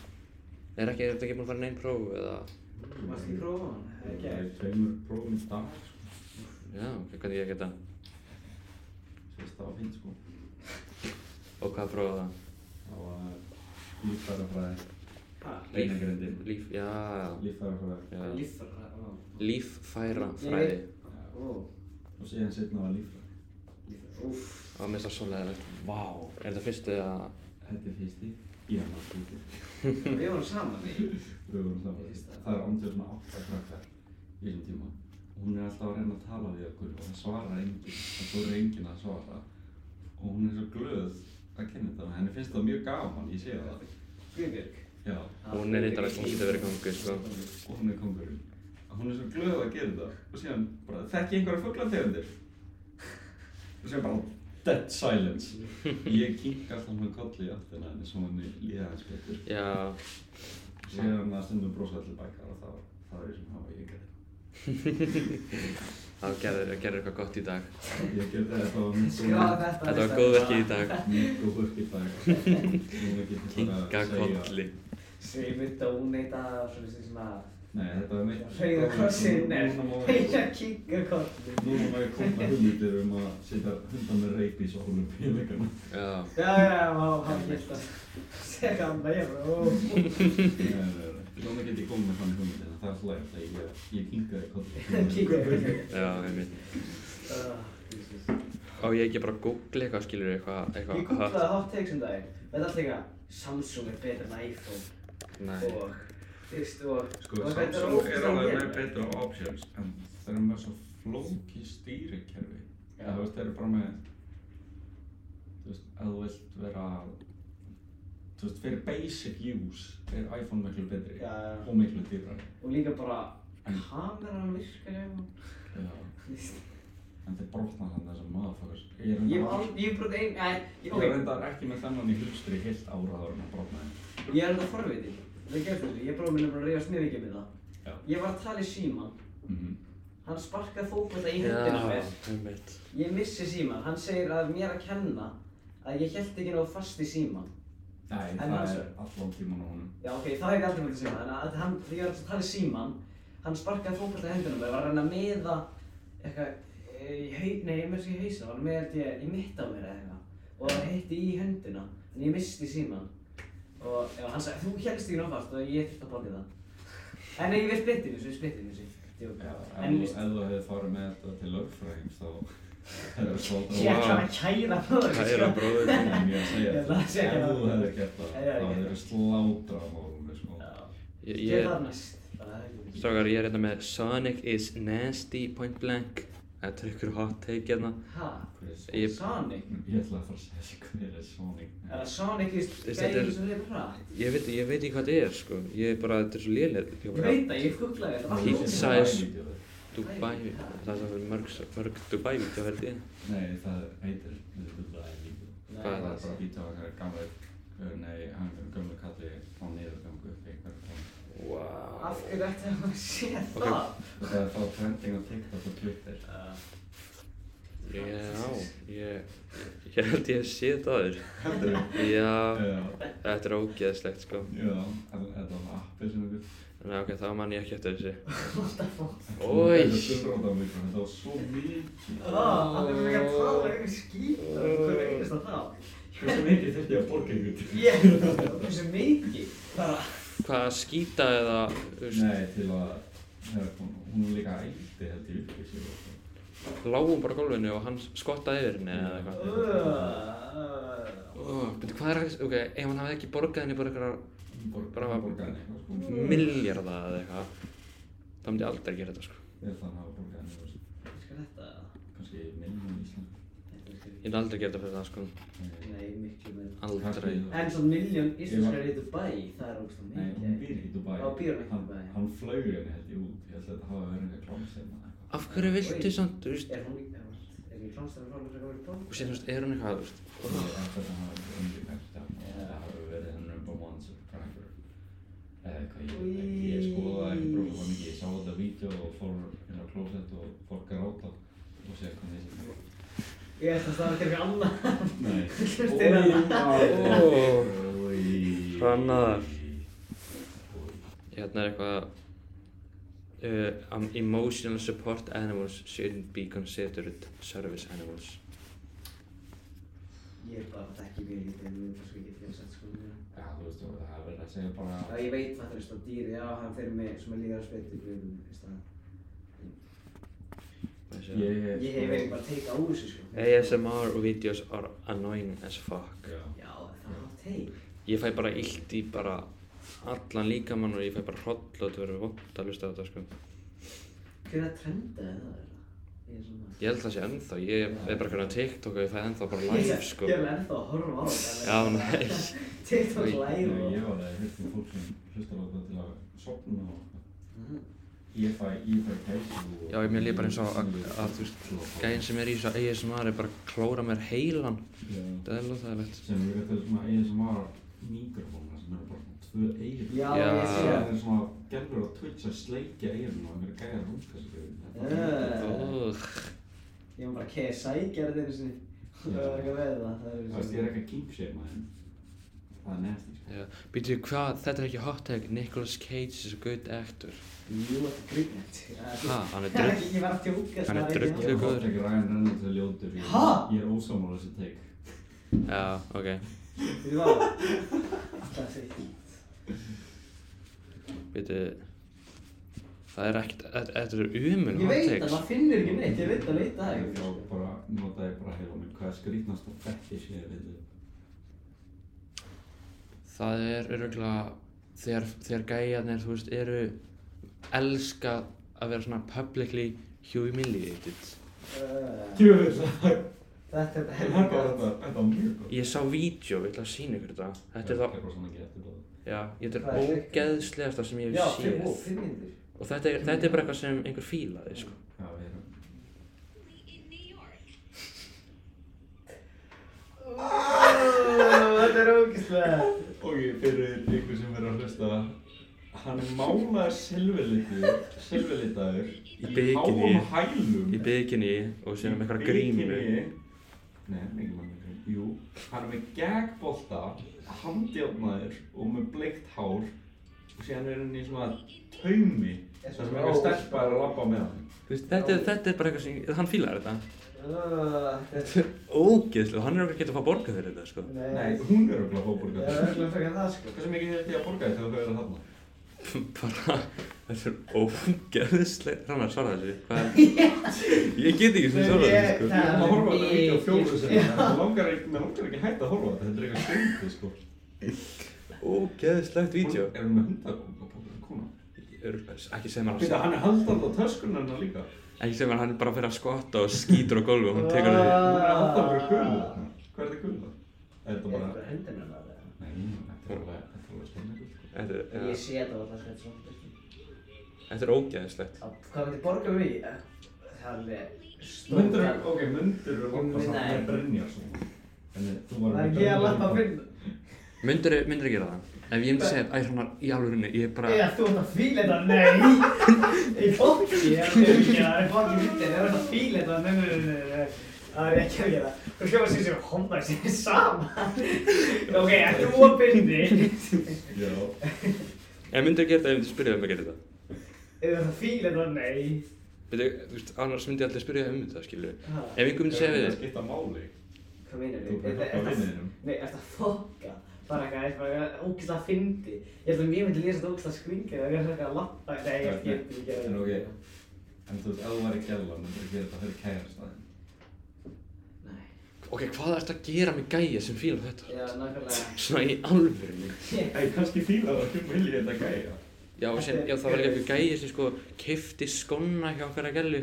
S3: Er ekki, er þetta ekki búin að fara neinn próf, eða?
S1: Þú varst ekki prófa hann, það er
S2: Ég
S1: ekki
S2: er tveimur prófum í dag, sko.
S3: Já, ok, hvernig ég geta?
S2: Sérst það var fint, sko.
S3: Og hvað prófa það?
S2: Það var líffærafræði.
S1: Ha,
S2: Beinagrindir.
S3: líf, já,
S2: Líffærafræði.
S3: já.
S1: líffara, ó.
S3: Líffæra fræði.
S2: Já.
S1: Ó,
S2: Og síðan setna var líffræði.
S1: líffara, úff.
S3: Það var mér það svoleiðilegt. Vá, er þetta fyrstu að,
S2: Þetta er fyrsti. Ég hann var fyrsti.
S1: Við vorum saman í
S2: Við vorum saman. Það er andjóð svona átta krakkar í þessum tíma. hún er alltaf að reyna að tala við okkur og það svarar enginn, það þorir enginn að svara og hún er svo glöð að kynna þetta, henni finnst það mjög gaman, ég sé það
S1: Guðbjörg.
S2: Já,
S3: Hún er reyndar að geta verið gangu, sko.
S2: og hún er kongurinn Hún er svo glöð að gera þetta og síðan bara þekki einhverja fuglantegundir og síðan bara dead silence Ég kink alltaf hann kolli í áttina henni svo henni líða hans betur
S3: Já,
S2: síðan að stundum brosa allir bækar og þá, þá er ég sem hafa ég gerði
S3: það gerður, gerður eitthvað gott í dag.
S2: Ég gerði þetta á mitt
S1: Skráðu þetta. á
S3: Þetta var
S1: listann.
S3: góðverkið í dag.
S2: Mjög góð fólk í dag Núna getur bara
S3: Kinga
S2: að segja
S3: kolli.
S1: Segir mitt að hún neyta svona sem svona
S2: Nei, þetta er mitt
S1: Hreyða krossin er
S2: Núna má ég-
S1: Hreyða kinga kossin
S2: Núna má ég koma með hugmyndir um að setja hundar með reip í sólum í leikana
S3: Já,
S1: Já, já, má, hann geta Segja hann bara, hérna já, ó
S2: Nei, nei, nei. Núna get ég komið með þannig hugmyndir en það er slægt að ég, ég kinkaði kolli
S1: Kinga kossin
S3: já, einmitt. Á ég ekki bara að googla eitthvað, skilur eitthvað,
S1: Ég
S3: eitthvað
S1: googlaði hot takes um daginn Þetta er alltaf líka Samsung er betur en iPhone
S3: Nei,
S1: og Fyrst og
S2: Sko,
S1: og þetta
S2: Samsung er
S1: ógeðslega
S2: alveg
S1: vel.
S2: með betra options en það er með svo flóki stýrikerfi
S1: Já.
S2: Það veist, þeir eru bara með þú veist, að þú vilt vera þú veist, fyrir basic use er iPhone miklu betri
S1: Já, já.
S2: og miklu dýrari
S1: Og líka bara Kameran virkar ef hún
S2: Já. en þeir brotna þannig þessum maðurfokkars Ég er
S1: Ég
S2: enda-
S1: hef aldrei, ég hef brútt ein, nei,
S2: ég
S1: ég,
S2: er
S1: ok,
S2: reyndar ekki með þennan í hlustri heilt ára áður en að brotna þeim
S1: ég er þetta forvitið. Það gerði þetta, ég bróði minna bara að reyðast mjög ekki með það.
S2: Já.
S1: Ég var að tala í síman,
S2: Mhm.
S1: hann sparkaði fókvölda í hendina á
S3: já,
S1: mér.
S3: einmitt.
S1: Ég missi síman, hann segir að mér að kenna að ég held ekki náðu fast í síman.
S2: Nei,
S1: En
S2: það
S1: þessu-
S2: er allan tíman á honum
S1: Já, ok, það hef ég aldrei verið síman, en að hann, þegar ég var að tala í síman, hann sparkaði fókvölda í hendina á mér, var að reyna að meða eitthvað, eh, í haug, nei, ég með þess að ég hausa, var að meða held ég í mitt á mér eða eitthvað. Og það heitti í hendina, en ég misti síman. Og já, hann sagði, þú helst ekki náfast og ég þurfti að borga það. En ég við splittum þessu, við splittum þessu. Djók.
S2: Já, ef
S1: En
S2: þú-
S1: víst-
S2: ef þú hefði farið með þetta til lögfræðings þá hefði það
S1: Ég
S2: svolítið
S1: er
S3: Wow.
S1: svona að kæra bróður.
S3: Kæra bróður
S2: Það er mjög að segja
S1: Ég ætla að segja
S2: Ef
S1: það.
S2: þú hefði gert það,
S1: Ég hefði
S2: þá
S1: gert
S2: hefði það slátra á málunni, sko
S3: Ég,
S1: Ég er
S3: ég,
S1: það næst. Það er ekki mikið.
S3: strákar, ég er hérna með Sonic is nasty point blank. Þetta er ykkur hot take hérna.
S1: Ha?
S2: Hver er Sonic?
S3: Ég-
S1: Sonic?
S2: Ég ætla að fara að segja þér hver er Sonic
S1: Er það Sonic í
S3: þetta er-
S1: gæðin sem hefur hratt?
S3: Ég veit, ég veit ekki hvað þetta er, sko. Ég er bara, þetta er svo lélir.
S1: Ég veit það, ég googlaði þetta. var
S3: Pizza
S1: ógeðslega.
S3: er-
S2: Sonic
S3: Dubai, það er svona mörg, mörg Dubai-vídeó, held ég.
S2: Nei, það heitir Dubai Video
S1: Nei,
S3: Hvað
S2: Það er
S3: það?
S2: bara að býta á einhverja gamla eh, Nei, hann er gamla kalli á niðurgangu upp í einhverju tónu
S3: Wow.
S1: Af hverju ætti hann að sé
S3: Ok.
S1: það? Uh,
S2: Það er þá trending á TikTok og Twitter
S3: Já, ég, ég held ég hef séð þetta aður.
S2: Heldur
S3: Já,
S2: Já
S3: þetta er ógeðslegt, sko.
S2: Já, þetta var appið sem við
S3: Nei, ok, það man ég ekki eftir þessu.
S1: What the fuck?
S3: Ói!
S2: Þetta var svo mikið
S1: Það Ah, Uh, er verið að tala yfir skýta um hverju einasta þá.
S2: Hversu mikið þurfti ég að borga ykkur?
S1: Ég, hversu mikið? Bara,
S3: Hvað, skýta eða, þú veist,
S2: Nei, til að hérna, hún, hún líka ældi held ég upp í sig og svona.
S3: lágum bara á gólfinu og hann skottaði yfir henni
S1: uh,
S3: eða eitthvað.
S1: uh,
S3: Oh, betur, hvað er, ok, ef hann hafði ekki borgað henni bara eitthvað
S2: Hún borg-
S3: Bara var-
S2: borgaði henni eitthvað sko.
S1: Mm.
S3: milljarða eða eitthvað, þá myndi ég aldrei gera þetta, sko.
S2: Ég held að hann hafa borgað henni þú veist,
S1: Skal þetta?
S2: kannski miljón í Ísland. Eh,
S3: Ég myndi aldrei gera þetta fyrir það, sko.
S2: Nei,
S1: Nei, miklu meira.
S3: Aldrei.
S1: En svo miljón íslenskar í Dubai, það er ógst að
S2: Nei, hún
S1: mikið.
S2: býr í Dubai.
S1: Já, býr hún í
S2: Hann-
S1: Dubai.
S2: Hann flaug henni held ég út. Ég held að þetta hafa verið eitthvað klámsinn eða eitthvað.
S3: Af hverju viltu samt, þú veist,
S1: Er hún, er hún, er hún í klámstæðan frá hún að vera í
S3: og sér, þú veist, er hann eitthvað, þú veist,
S2: Ég held að þetta hafa verið undir eftir hann. Það hafa verið hann number one subscriber. Eða eitthvað, ég veit ekki. Ég skoðaði ekki bróðum hann ekki. Ég sá þetta vídeo og fór inn á klósett og fór gráta og sér kom þessi.
S3: e-
S1: Ég ætla að staða til eitthvað annað.
S2: Nei.
S1: Hlustir hana.
S3: Ó.
S2: Oj.
S3: Hrannar. Hérna er eitthvað uh, um, Emotional support animals shouldn't be considered service animals
S1: Ég er bara að þekki mjög lítið, en ég er bara svo ekki til að setja sko mér.
S2: Já, þú veist, það er verið að segja bara
S1: Já, ég veit það, þú veist, að dýri, já, hann fyrir mig, sem er líðar að spytta í grunum, veist það.
S3: yeah.
S1: Ég hef
S2: sko,
S1: eiginlega bara teika á þessu, sko.
S3: ASMR videos are annoying as fuck
S2: Já.
S1: Já, það er hot take.
S3: Ég fæ bara illt í bara allan líkamann og ég fæ bara hroll og þetta verður vond að hlusta á þetta sko
S1: Hver að trenda er það? Ég er svona...
S3: Ég held það sé ennþá, ég er bara hvernig að TikTok og ég fæ ennþá bara live sko.
S1: Ég er ennþá að horfa á þetta.
S3: Já, nei.
S1: TikTok
S3: Oj.
S1: live
S2: Ég
S1: og...
S2: ég var að hlusta um fólk sem hlustar á þetta til að sopna og
S1: Mhm.
S2: ég fæ, ég fæ gæsu og...
S3: Já, ég mér líður bara eins og að, að þú veist, gæinn sem er í þessu ASMR er bara að klóra mér heilan.
S2: Já.
S3: Það er lóþægilegt.
S2: Sem er eitthvað svona eigin sem var mikrofóna sem eru bara svona tvö eigin.
S1: Já,
S3: Já.
S1: ég sé
S2: Það
S1: það.
S2: er svona gerður á Twitch að sleikja eigin og mér er gæja rúmka sem
S1: Eh.
S3: Úh,
S1: Ég var bara að keið sækja þetta einu sinni. Það var eitthvað með það. Það er
S2: Þú veist, ég er ekki að kýmseima en það er nefnst sko.
S3: já. Býtu, hvað, þetta er ekki hot tag, Nicolas Cage is a good actor.
S1: Jú, þetta er grínjönd.
S3: Ha, Ah, hann er drull.
S1: Ég var að tjóka
S3: Hann er drull.
S2: Ég er hótt ekki Ryan Reynolds að ljótur, ég,
S1: Ha?
S2: ég er ósamála þessi teik.
S3: Já, ok.
S1: Þú var alltaf að segja.
S3: Býtu, það er ekkert, þetta- þetta eru umun
S1: Ég
S3: hot
S1: veit að
S3: tags.
S1: maður finnur ekki neitt, ég veit að leita það
S2: Ég
S1: ekki.
S2: þá bara, nota ég bara heila minn, hvað er skrýtnasta fetish ég hef við
S3: Það er öruglega, þegar, þegar gæjarnir, þú veist, eru, elska að vera svona publicly humiliated.
S1: Uh,
S2: Djöfull, það er
S1: Þetta er
S2: það er bara
S1: helgast.
S2: þetta, þetta er mjög gott.
S3: Ég sá vídeo, ég ætla að sína ykkur þetta. Þetta er
S2: Ég
S3: það,
S2: er bara svona ekki eftir það.
S3: já, þetta
S1: Það
S3: er
S1: er ekki-
S3: ógeðslegasta sem
S1: Já,
S3: ég hef
S1: fimm og
S3: séð.
S1: fimm myndir.
S3: Og þetta er, þetta er bara eitthvað sem einhver fílaði, sko.
S2: Já, við erum.
S1: Þetta er ógislega.
S2: Ok, fyrir ykkur sem verður að hlusta, hann er málaður silfurlitaður, silfurlitaður, í
S3: bikini.
S2: háum hælum.
S3: Í bygginni og síðan með eitthvað um grímu.
S2: Bikini. Nei, hann er ekki mann með grímu. Jú, hann er með gagbolta, handjálnaður og með bleikt hár og síðan er hann í svona taumi þar sem eitthvað stelpa er að labba með hann.
S3: Þú veist, þetta, er- þetta er bara eitthvað sem, hann fílaði þetta.
S1: Þetta
S3: Þetta er ógeðslega, hann er okkur getið að fá borgað fyrir þetta, sko.
S2: Nei, hún er okkur að fá
S1: Það
S2: borgað.
S1: er örgulega fyrir það sko.
S2: Hversu mikið þið að borga þetta þegar þau eru að þarna?
S3: Bara, þetta er ógeðslega, Rannar, svara þessu, hvað er? Ég get ekki sem svara þessu, sko.
S1: Nei, ég-
S2: Ég er að horfa á þetta vídeo
S1: mikið.
S2: fjóru sem það langar ekki, mér langar ekki að hætta að horfa á þetta, þetta er eitthvað skrýndi sko.
S3: Ógeðslegt vídeo.
S2: Er hún með hundakóka, kona?
S3: Ekki segja mér
S2: Býta, hann er haldandi á töskunna hennar líka.
S3: Ekki segja mér hann er bara að fyrir að skotta og skýtur á gólfi og hún tekur
S1: Ah.
S3: það því.
S2: Hún er alltaf bara gula. Hvað er þetta gula? Er þetta
S1: Er
S2: bara...
S1: þetta hendina með það?
S2: Nei, þetta er alveg, þetta er alveg steinlegur sko.
S3: Þetta er,
S1: Ég
S3: ja,
S1: sé þetta alltaf þetta svona.
S3: þetta er ógeðislegt.
S1: Á- Hvað myndi borga við í? Það er alveg stórt.
S2: Mundur, ok, mundur er
S1: Nei.
S2: lappa saman með Brynjar svona. En eh, þú var
S1: Það er ekki að lappa að finna.
S3: Myndur myndur gera það? Ef ég myndi segja, æ, Hrannar, í alvörunni, ég er bara...
S1: Eða þú ert að fíla þetta, nei! Ég fokki, ég er ekki að gera það, ég fokki myndi, ég er að fíla þetta, nei, nei, nei, nei, nei. eh, Það er ekki að gera það. Þú skjóma sér sem Honda sér saman. Ok, ekki óbindi.
S2: Já.
S3: Ef myndur gera það, ég myndi spyrja um að gera það.
S1: Eða það fíla þetta, nei.
S3: Veitu, þú veist, annars myndi ég allir spyrja um þetta, skilur
S1: Ha,
S3: Ef einhver myndi segja við
S2: Það
S3: þér,
S2: skipta máli.
S1: Hvað meinar
S2: Þú
S1: þið?
S2: bara um hjálpa vinninum.
S1: Nei, eftir að fokka. Bara eitthvað, eitthvað, eitthvað, ógislega fyndi. Ég held að mér myndi lýsa þetta ógislega skringið ef ég er eitthvað að lappa. Nei, ég get ekki að
S2: En
S1: gera
S2: ok,
S1: það.
S2: en þú veist, ef þú væri gæla, mundur gera þetta fyrir kærastæðin.
S1: Nei.
S3: ok, hvað ertu að gera með gæja sem fílar þetta?
S1: Já, nákvæmlega.
S3: Svona í alvörunni.
S2: Ei, kannski fíla það, þú vilji þetta gæja.
S3: Já, og sem, já, það var líka eitthvað gæja sem sko kefti skonna hjá hverja gælu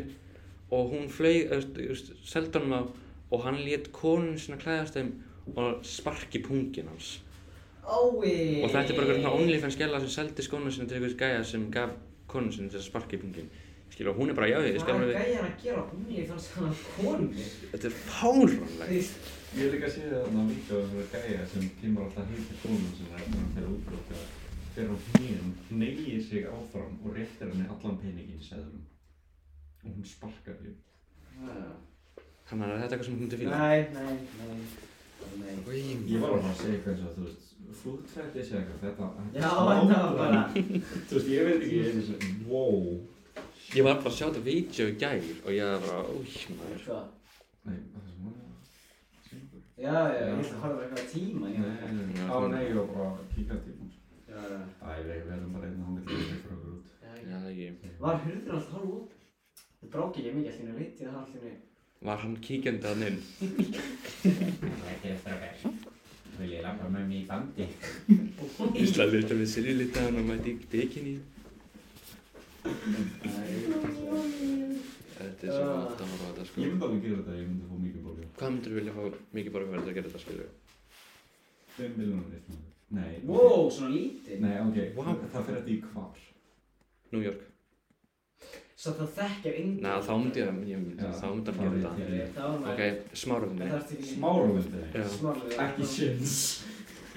S3: og hún flög, seldi honum á og hann lét konun sinna klæðast þeim og sparki pungin hans.
S1: Ói.
S3: Og þetta er bara einhver svona OnlyFans gæla sem seldi skona sinna til einhvers gæja sem gaf konun sinna til að sparki pungin. Skilja, og hún er bara, já, ég
S1: Hvað
S3: skal hann
S1: er
S3: við,
S1: gæjar að gera búinni þannig að hann konu?
S3: þetta er fáránlegt.
S2: Ég hef líka séð þarna líka um einhverja gæja sem kemur alltaf heim til konum sem er eftir að fyrir útbróka. Fyrir á hnýðum, hneigir sig áfram og réttir henni allan peningin í seðlum. Og hún sparkar því.
S3: Hannar, er þetta eitthvað sem hún myndi fíla?
S1: Nei, nei, nei. Nei.
S2: Ég var að fara að segja eitthvað eins og þú veist, flúðtrætti sé eitthvað, þetta, þetta
S1: Já, þetta var bara...
S2: Þú veist, ég veit ekki einu sem, wow.
S3: Ég var bara að sjá þetta vídeo í gær og ég var bara, ój, maður.
S1: Hvað?
S2: Nei, það sem var það.
S1: sko. Já, já, ég ætla að horfa á eitthvað tíma.
S2: Nei, nei, nei, nei, á nei, ég var bara að kíka til hún.
S1: Já, já.
S2: Æ, við um verðum bara einn og hann getur ekki frá okkur út.
S3: Já, það ekki.
S1: Var hurðin alltaf hálf út? Það brók ekki mikið, allir veit ég það allir veit.
S3: Var hann kíkjandi hann inn?
S2: Þetta er frækar. Vil ég lappa með mér í bandi?
S3: hérna Ísla lítið með silju lítið hann og mæti í bikini. Þetta er svo gott að horfa á þetta
S2: Ég
S3: sko.
S2: myndi alveg gera þetta, ef ég myndi fá mikið borga.
S3: Hvað myndir vilja fá mikið borga fyrir þetta að gera þetta skilju?
S2: 5 miljónir eitt maður. Nei.
S1: Wow, svona lítið.
S2: Nei, ok.
S3: Vá.
S2: Það fer þetta í hvar.
S3: New York.
S1: Svo það þekkir enginn.
S3: Nei, þá myndi ég, ég myndi,
S2: Já,
S3: þá myndi
S2: þá
S3: hann gera
S2: myndi
S3: þetta.
S2: ég.
S1: Þá er maður.
S3: Ok, smárufni.
S1: Það þarf til ekki.
S2: Smáruvöldi.
S3: Já.
S1: Smárlega.
S2: Ekki séns.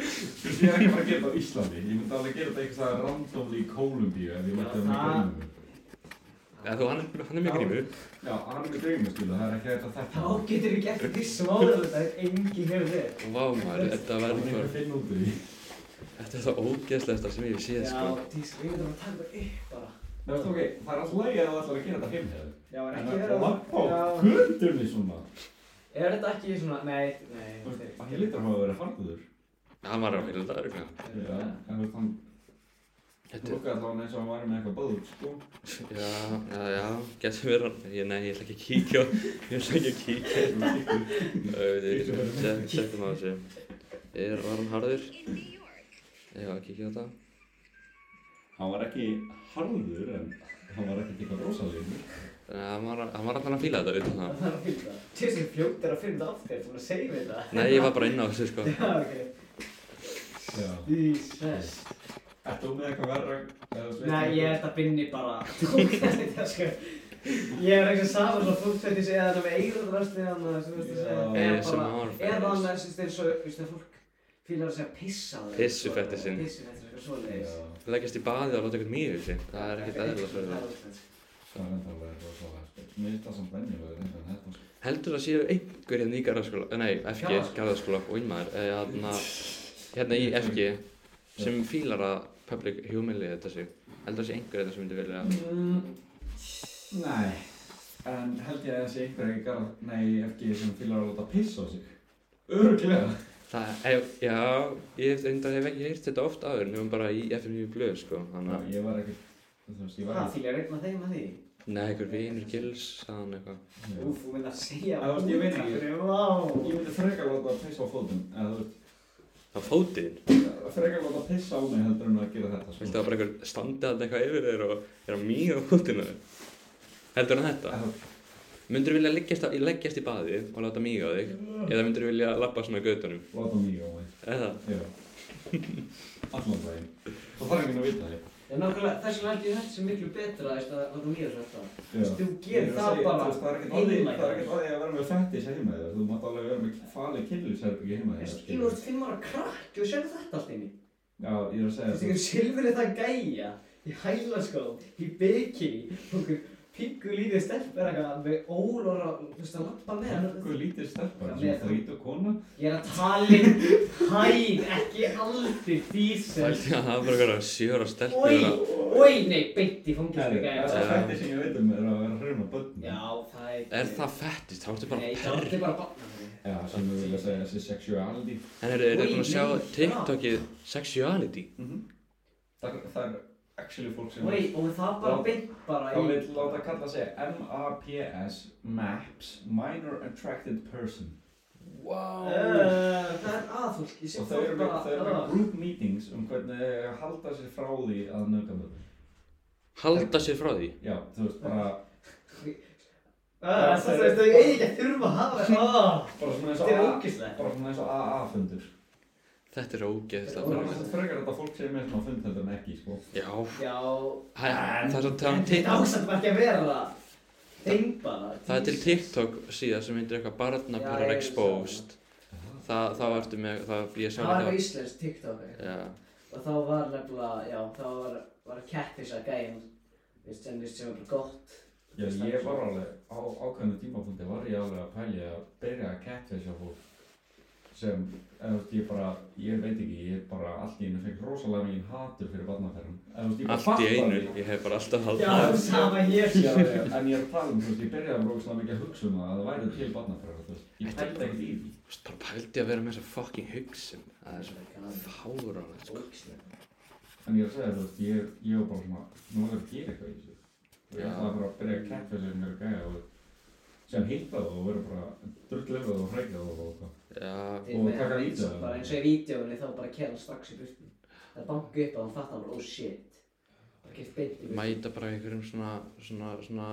S2: Ég er ekki að fara að gera þetta á Íslandi. Ég myndi alveg gera þetta einhvers að randomli í Kólumbíu ef ég
S1: Já,
S2: mætti að mikið
S1: það-
S2: grímu.
S3: Eða þú, hann, er- hann er mikið grímur.
S2: Já, hann er með grímu, skilu. Það er ekki hægt að
S1: Þá
S2: þetta.
S1: getur við gert því smárlega þetta er enginn hefur þig.
S3: Vá maður,
S2: Það
S3: þetta
S2: er ekki
S3: verður
S2: að
S3: bara,
S2: finna út úr því.
S3: þetta er það ógeðslegasta sem ég hef séð sko.
S1: Já, tísk, við myndum að taka það upp bara.
S2: Nei, veistu, ok, það er alltaf lægið að þú ætlar að gera þetta heim hefur.
S1: Já, en
S2: En
S1: ekki
S2: að
S1: vera
S2: lappa á
S1: Já.
S2: göttunni svona.
S1: Er þetta ekki svona, nei, nei,
S2: Þú veist,
S1: þeir-
S2: Hann lítur að hafa verið farðuður.
S3: Hann var að vilja þetta örgla.
S1: þeir-
S2: Já, en þú veist, hann
S3: Þetta
S2: lukkaði allavega eins og hann var með eitthvað bóð, sko.
S3: er, já, já, já, getur verið hann. Ég, nei, ég ætla ekki að kíkja, á- ég ætla ekki að kíkja. Þetta, setjum á þessu. Er, var hann harður? Já, kíkja á þetta.
S2: Hann var ekki harður, en hann var ekki eitthvað rosalíður.
S3: Þannig að hann var, hann var alltaf að fíla þetta utan það.
S1: Það er fínt það. Tísk, fljótt er að finna þetta aftur, þú er að segja mér það.
S3: Nei, ég var bara inn á þessu sko.
S1: Já, ok.
S2: Já.
S1: Jesus.
S2: Ert þú með eitthvað verra? eða þú veist
S1: Nei, ég
S2: eitthvað?
S1: held að binni bara tókastið, sko. Ég er ekki saman svona fólk þegar ég segja þetta með eirðarverstið hann, þú veist að segja.
S3: Eh,
S2: Já.
S1: Eða bara-
S3: ASMR
S1: Eða
S3: fetish.
S1: hann, þú veist, þeir svo, þú veist, að fólk fílar að segja pissa á þeim.
S3: Pissufetishinn.
S1: Pissufetisinn, eitthvað svoleiðis.
S2: Já,
S3: Leggjast í baði og láta eitthvað mýri í sig. Það er ekkert eðlilega fyrir það.
S1: það.
S2: það er enda alveg eitthvað svo hægt. Mér finnst það samt venjulega, reyndar en þetta, sko.
S3: Heldur það séu einhver hérna í Garðaskóla, eh, nei, FG,
S1: Garðaskóla.
S3: Garðaskóla og innmaður, eh, hérna, hérna í FG, sem fílar að public humiliate þetta sig. Heldur það sé einhver hérna sem myndi vilja að...
S2: Mm, Nei. En held ég að þessi einhverja í garð, nei, ekki sem fylgur að láta pissa á sig. Öruglega.
S3: Það, ef, já, ég reyndar hef ekki heyrt þetta oft áður, nefnum bara í FM9 Blöð, sko, þannig að,
S2: Ég var ekki, þú veist, ég var
S1: Það fílar einn að þeim að því.
S3: nei, einhver vinur gils, sagðan eitthvað.
S2: ekki.
S1: Úf, þú mynd að segja
S2: Já, þú veist, ég veit ekki.
S1: Vá.
S2: Ég myndi frekar láta að pissa á fótum, eða þú
S3: Á fótinn,
S2: veist, frekar láta að pissa á mig heldur en að gera þetta. sko.
S3: viltu það bara einhver standi alltaf eitthvað yfir þér og er að mýja á fótinn á þér? Heldur það þetta?
S2: Eða,
S3: Myndur vilja leggjast, á- leggjast í baði og láta mýja á þig? Eða myndur vilja labba svona göttunum?
S2: Láta mig á mig,
S3: Eða?
S2: já. Allan daginn. Það þarf ekki að vita þig.
S1: Já, nákvæmlega, þess vegna held ég þetta sem miklu betra, veist, að láta mér þetta.
S2: Já.
S1: Þú
S2: Ég er
S1: gerir
S2: að
S1: það
S2: segja,
S1: bara
S2: þú veist, Það er ekkert að því það er ekkert að því að vera með fættis heima þér. Þú mátt alveg vera með falið kynlýsherbyggi heima þér.
S1: Veist, Ég
S2: skilur.
S1: voru fimm ára krakki og sérðu þetta allt inni.
S2: Já, ég er að segja
S1: Þú veist,
S2: það.
S1: einhver silfrið það gæja, í hælaskóð, í bikini, okkur píku lítið stelpur eitthvað með ólóra, þú veist, að lappa með hann.
S2: Hvað lítið stelpar
S1: Já,
S2: sem
S1: með-
S2: þrít og kona?
S1: Ég er að tala um hæð, ekki aldur, dísel.
S3: Pældi að það var bara eitthvað sjöra stelpur
S1: Oi,
S3: að
S1: oi, nei, beint í
S2: Það
S1: fangilsku
S2: er
S1: gæja.
S2: það fættis sem ég veit um er að vera hrjum á börnum.
S1: Já, það er...
S3: Er það fettist? Það vartu bara
S1: Nei, það
S3: perri
S1: er bara barnafrið.
S2: Já, sem við vilja segja þessi sexuality.
S3: En eru
S1: Oj,
S3: þið búin að
S1: nei,
S3: sjá TikTokið Sexuality?
S2: Mhm. Það er- það er actually fólk sem...
S1: Oi, og það bara
S2: Lá-
S1: beint bara
S2: Það vil láta kalla sig MAPS, MAPS, Minor Attracted Person.
S3: Wow
S1: Uh, Það er aðfólk, ég sé
S2: Og þau eru
S1: fólk
S2: með,
S1: bara
S2: þau eru með
S1: Ah.
S2: group meetings um hvernig þau eiga að halda sér frá því að nöga mögum.
S3: Halda sér frá því?
S2: Já, þú veist, bara,
S1: Ah, Það er það að þau eigi ekki að þurfa að hafa Ah,
S2: bara svona eins
S1: Þetta er
S2: og
S1: ógislegt
S2: bara svona eins og AA-fundur.
S3: Þetta er
S2: Og
S3: ógeðslega
S2: það er
S3: fyrir
S2: svona frekar að þetta fólk sé með svona fund heldur en ekki, sko.
S3: Já
S1: Já
S3: Hæ- Það er
S1: En
S3: svo talan
S1: þetta
S3: TikTok
S1: ásamt var ekki að vera það Þeim bara
S3: Það er til TikTok síða sem heitir eitthvað
S1: Já,
S3: Barnapurar
S1: ég
S3: Exposed Það, þá ertu með, það, ég sá
S1: Það var
S3: þetta
S1: eitthvað íslensk TikTok
S3: Já,
S1: Og þá var nefnilega, já, þá var var kettis að gæja Vist, en vist sem er bara gott
S2: Já, ég var alveg, á ákveðinu tímapunkti var ég alveg að pæli að byrja að catfisha fólk sem, eða þú veist, ég bara, ég veit ekki, ég bara allt í einu fekk rosalega mikið hatur fyrir barnaferðum. Eða þú veist, ég bara
S3: allt í
S2: fattaði-
S3: einu Ég hef bara alltaf haldið
S1: Já, sama hér
S2: Já, já, en ég er að tala um, þú veist, ég byrjaði að rókslega mikið að hugsa um það að það væri til barnaferðar, þú veist, ég
S3: Þetta er
S2: pældi ekkert í því.
S3: Þú veist, Bara pældi að vera með þessa fucking hugsun Það er svo fáránlegt sko
S1: Ógislegt
S2: En ég er að segja, þú veist, ég, ég var bara svona, nú er það að gera eitthvað í þessu. Ég
S3: Já.
S2: ætlaði bara að byrja að kæfta þessu mér og gæja og sem hitta það og vera bara drullefrað og hrækjað og eitthvað.
S3: Já,
S1: Þeir
S2: Og
S1: með
S2: taka um
S1: hann
S2: vídeó.
S1: eins og bara eins og í vídeóinu þá bara kera hann strax í burtu það banki upp að hann fattar bara oh shit bara ekkert beint í
S3: mæta bara í einhverjum svona, svona, svona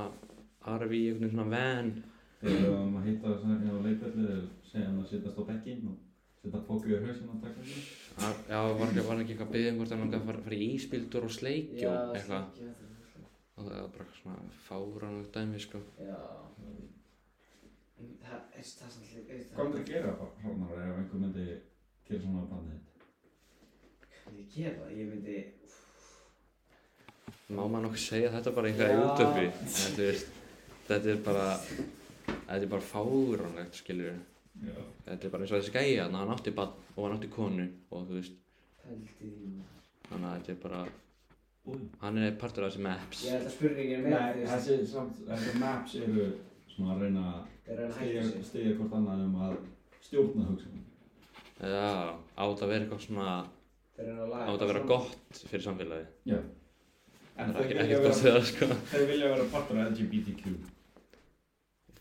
S3: RV, einhvern svona van
S2: Þegar við varum að hitta það sem hefur leikvöldið er segja hann að setjast á bekkinn og setja fokku í hausinn á taklinginu.
S3: Að- Já, var ekki, var ekki eitthvað að byggja um hvort hann langaði að fara, fara í íspildur og sleikjó eitthvað
S1: Já,
S3: og það var bara svona fáránlegt dæmi sko
S1: já. En það það er samt líka veist
S2: Hvað myndir
S1: það-
S2: að gera hrannar ef einhver myndi gera svona bandið þitt?
S1: Hvað myndi ég gera? Ég myndi
S3: Má maður nokkuð segja þetta bara eitthvað í
S1: Já.
S3: útöpi Þetta er, þetta er bara, þetta er bara fáránlegt skilur
S2: Já.
S3: Þetta er bara eins og þessi gæja, þannig að hann átti bann og hann átti konu og þú veist
S1: Pældi því nú.
S3: Þannig að þetta er bara,
S2: Úi.
S3: hann er partur af þessi maps
S1: Ég held að spurningin er
S2: Nei,
S1: með því
S2: þessi samt, þessi maps eru svona að reyna
S1: Það er
S2: að
S1: hann hættu
S2: styðja-
S1: sig
S2: styðja hvort annað um að stjórna hugsunum.
S3: Já, á þetta að vera eitthvað svona,
S1: Það er hann að
S3: á
S1: laga
S3: þetta að vera
S1: svona.
S3: gott fyrir samfélagi
S2: Já. En þeir
S3: Það er ekki,
S2: vilja
S3: ekki gott
S2: vera,
S3: við það sko
S2: þeir vilja vera partur af LGBTQ.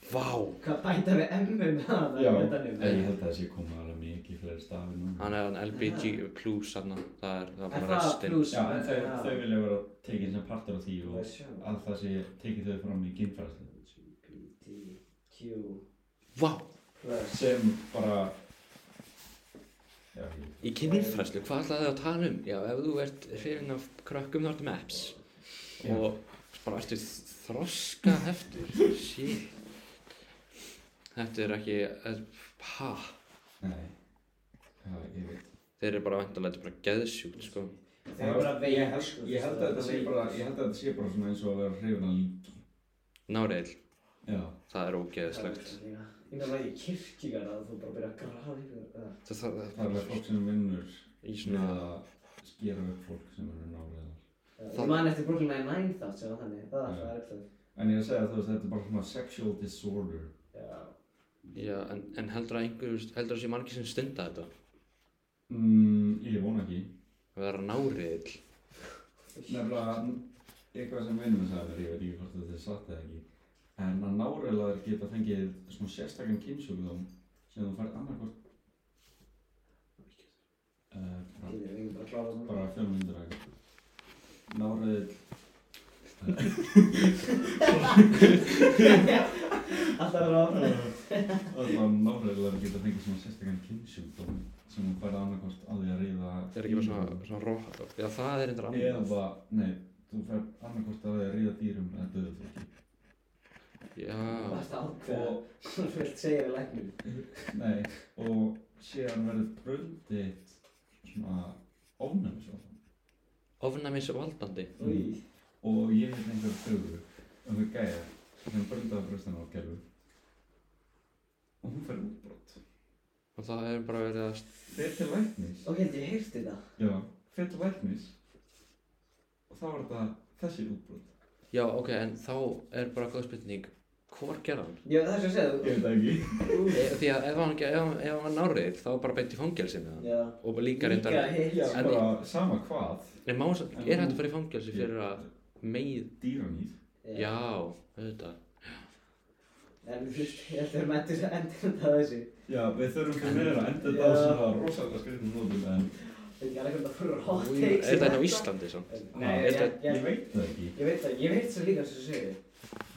S3: Vá,
S1: Hvað bæta við emmi með það?
S2: Já,
S1: metanum.
S2: en ég held að þessi koma alveg mikið fleiri stafi núna.
S3: hann er hann LBG plus þarna, það er, það er
S1: Er
S3: bara
S1: það
S3: restin
S1: plús?
S2: Já, en þau,
S1: Já.
S2: þau vilja vera tekinn sem partur af því
S1: Það
S2: og
S1: er sjá.
S2: að það sé tekið þau fram í kynfræðslu.
S1: LGBTQ
S3: Vá,
S1: plus
S2: Sem bara, já, ég
S3: í kynfræslu, hvað ætlaði það að tala um? Já, ef þú ert hrifin af krökkum þá ertu maps
S2: Já.
S3: og bara ertu þroska heftur, shit Þetta er ekki, hæ,
S2: Nei, já, ég veit.
S3: þeir eru bara vantilega, þetta er bara geðsjúkt sko
S1: Þau eru bara veik
S2: Ég held,
S1: sko,
S2: ég held að þetta sé bara, ég held að þetta sé bara svona eins og að vera hrifin að líki.
S3: Náreil,
S2: Já.
S3: það er
S1: Það er
S3: ógeðslegt
S1: svona líka. Ég meina að ég kirkjigar að þú bara byrja að grafa yfir það
S3: Það það-
S2: Það er
S3: það
S2: alveg fólk sem vinnur
S3: í
S2: við
S3: svona,
S2: að skera upp fólk sem eru nálega.
S1: Ég
S3: Það-
S1: man eftir Brooklyn Nine-Nine þátt sem var þannig, það var
S2: Já.
S1: alltaf erfið.
S2: En ég er að segja að þú veist, þetta er bara svona sexual disorder.
S1: Já.
S3: já, en, en heldur að einhver, heldur að sé margir sem stunda þetta
S2: Mm, ég vona ekki.
S3: að vera náreil
S2: Nefnilega, eitthvað sem vinnur sagði mér, ég veit ekki hvort þetta er satt eða ekki. En að nálegaður geta fengið svona sérstakann kynnsjúkdóm sem þú færð annarkvort. Uh, frá
S1: Ég veit, við erum bara að klára það.
S2: bara fjölmyndir að náriðill eh,
S1: Alltaf er ráð.
S2: allan náriðill að geta fengið svona sérstakann kynnsjúkdóm sem hún færði annarkvort að því að ríða
S3: Það er ekki bara svona, svona roh, já það er eitthvað
S2: dýrum. eða,
S3: annað
S2: nei, þú færð annarkvort að því að ríða dýrum eða döðu fólki
S1: Það
S3: Já,
S1: er ákveða.
S2: og,
S1: Þú vilt segja við læknum.
S2: nei, og síðan verður bröndið svona ónæmi svo
S3: ofnæmis valdandi
S1: Új.
S2: og ég hef einhver dögu um þau gæja sem bröndaði bröstan á gerfu og hún fær útbrot
S3: og það er bara verið að
S2: þeir til læknis
S1: Ok, ég heyrti það.
S2: Já, fyrir til læknis og þá var þetta þessi útbrot.
S3: Já, ok, en þá er bara góð spurning Hvor gerði hann?
S1: Já, það er svo að segja þú.
S2: Ég veit það ekki.
S1: Új.
S3: E, því að ef hann, ef hann, ef hann var nárið þá var bara beint í fangelsi með hann
S1: Já.
S3: Og líka reyndar
S1: Líka hitt.
S2: Já,
S1: sko.
S3: En-
S2: bara sama hvað,
S3: En má, er hægt að fara í fangelsi fyrir að meið
S2: dýranýð.
S3: Já, auðvitað
S1: En þú veist, ég held að við mættum að enda þetta að þessu.
S2: Já, við þurfum fyrir meira að enda
S1: Já.
S2: þetta á svona rosalega skrifnum nótum en
S1: Þetta er ekki alveg hvernig að hot
S3: Új, Er
S1: takes.
S3: þetta hérna á Íslandi svo?
S1: Nei,
S2: Ah,
S1: ég,
S3: er
S1: ég,
S3: þetta-
S2: ég
S1: ég,
S2: veit það ekki.
S1: ég veit það. Ég veit svo líka sem þú segir.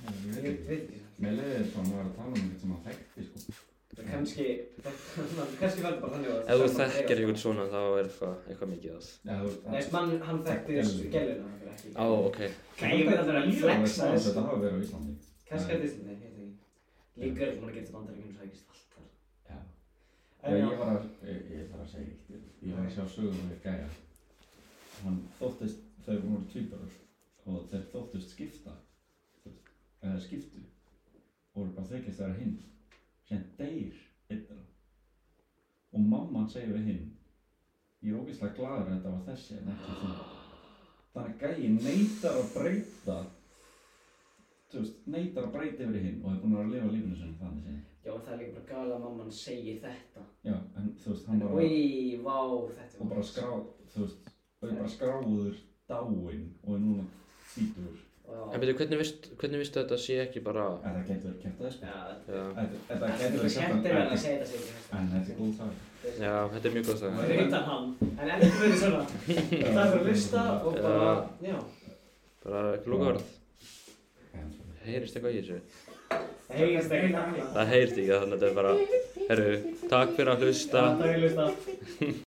S2: Nei, Ég
S1: Ég
S2: veit
S1: veit
S2: ekki.
S1: veit ekki.
S2: Mér leiði þetta að maður að tala um eitthvað sem að þekkti sko.
S1: Það kannski, það kannski verður bara þannig að
S3: Ef þú þekkir einhvern svona þá er eitthvað, eitthvað mikið að
S2: Já, þú veist,
S1: Nei, mann, hann þekkti gæluna hann ekki.
S3: Á, ok
S1: Nei, ég veit að það er að flexa
S2: þessu.
S1: þessu.
S2: Þetta hafa verið á Íslandi.
S1: Kannski að Disney, ég veit ekki. Líka er maður að geta bandaríkjum svo ekki allt þar.
S2: Já.
S1: En
S2: Ég
S1: já,
S2: var að, ég ég þarf að segja eitt. Ég var að sjá sögum við gæja. Hann þóttist, þau voru tvíburar og þeir þóttist skipta, þú veist, eða skiptu, og voru bara þykist þeirra hinn, sem deyr einn þeirra. Og mamman segir við hinn, ég er ógeðslega gladur að þetta var þessi en ekki þú. Þannig að gæji neytar að breyta, þú veist, neytar að breyta yfir í hinn og er búin að vera að lifa lífinu sinni þannig sinni.
S1: já, en það er líka bara gala að mamman segir þetta.
S2: Já, en þú veist, hann
S1: En
S2: var að...
S1: oi, vá, þetta
S2: og bara skrá, þú veist, þau bara skráður dáinn og er núna fítur.
S1: Vá.
S3: En veitu, hvernig veist, hvernig veistu þetta sé ekki bara
S2: En það getur verið kæft aðeins.
S1: Já, þetta
S3: Já,
S2: Þetta þetta
S1: er
S2: getur
S1: bara
S2: verið
S1: skemmt
S2: kæft
S1: er að
S2: aðeins.
S1: segja þetta segir
S2: En þetta er góð sag.
S3: já þetta er mjög góð það
S1: Fyrir utan hann, en ekki fyrir svona. Það er að hlusta og bara, já.
S3: Bara ekki lóka orð.
S2: Já.
S3: Heyrist eitthvað í þessu?
S1: Heyrist ekki það.
S3: Það heyrist ekki þannig að þetta er bara, herru, takk fyrir að hlusta.
S1: Það er hlust að.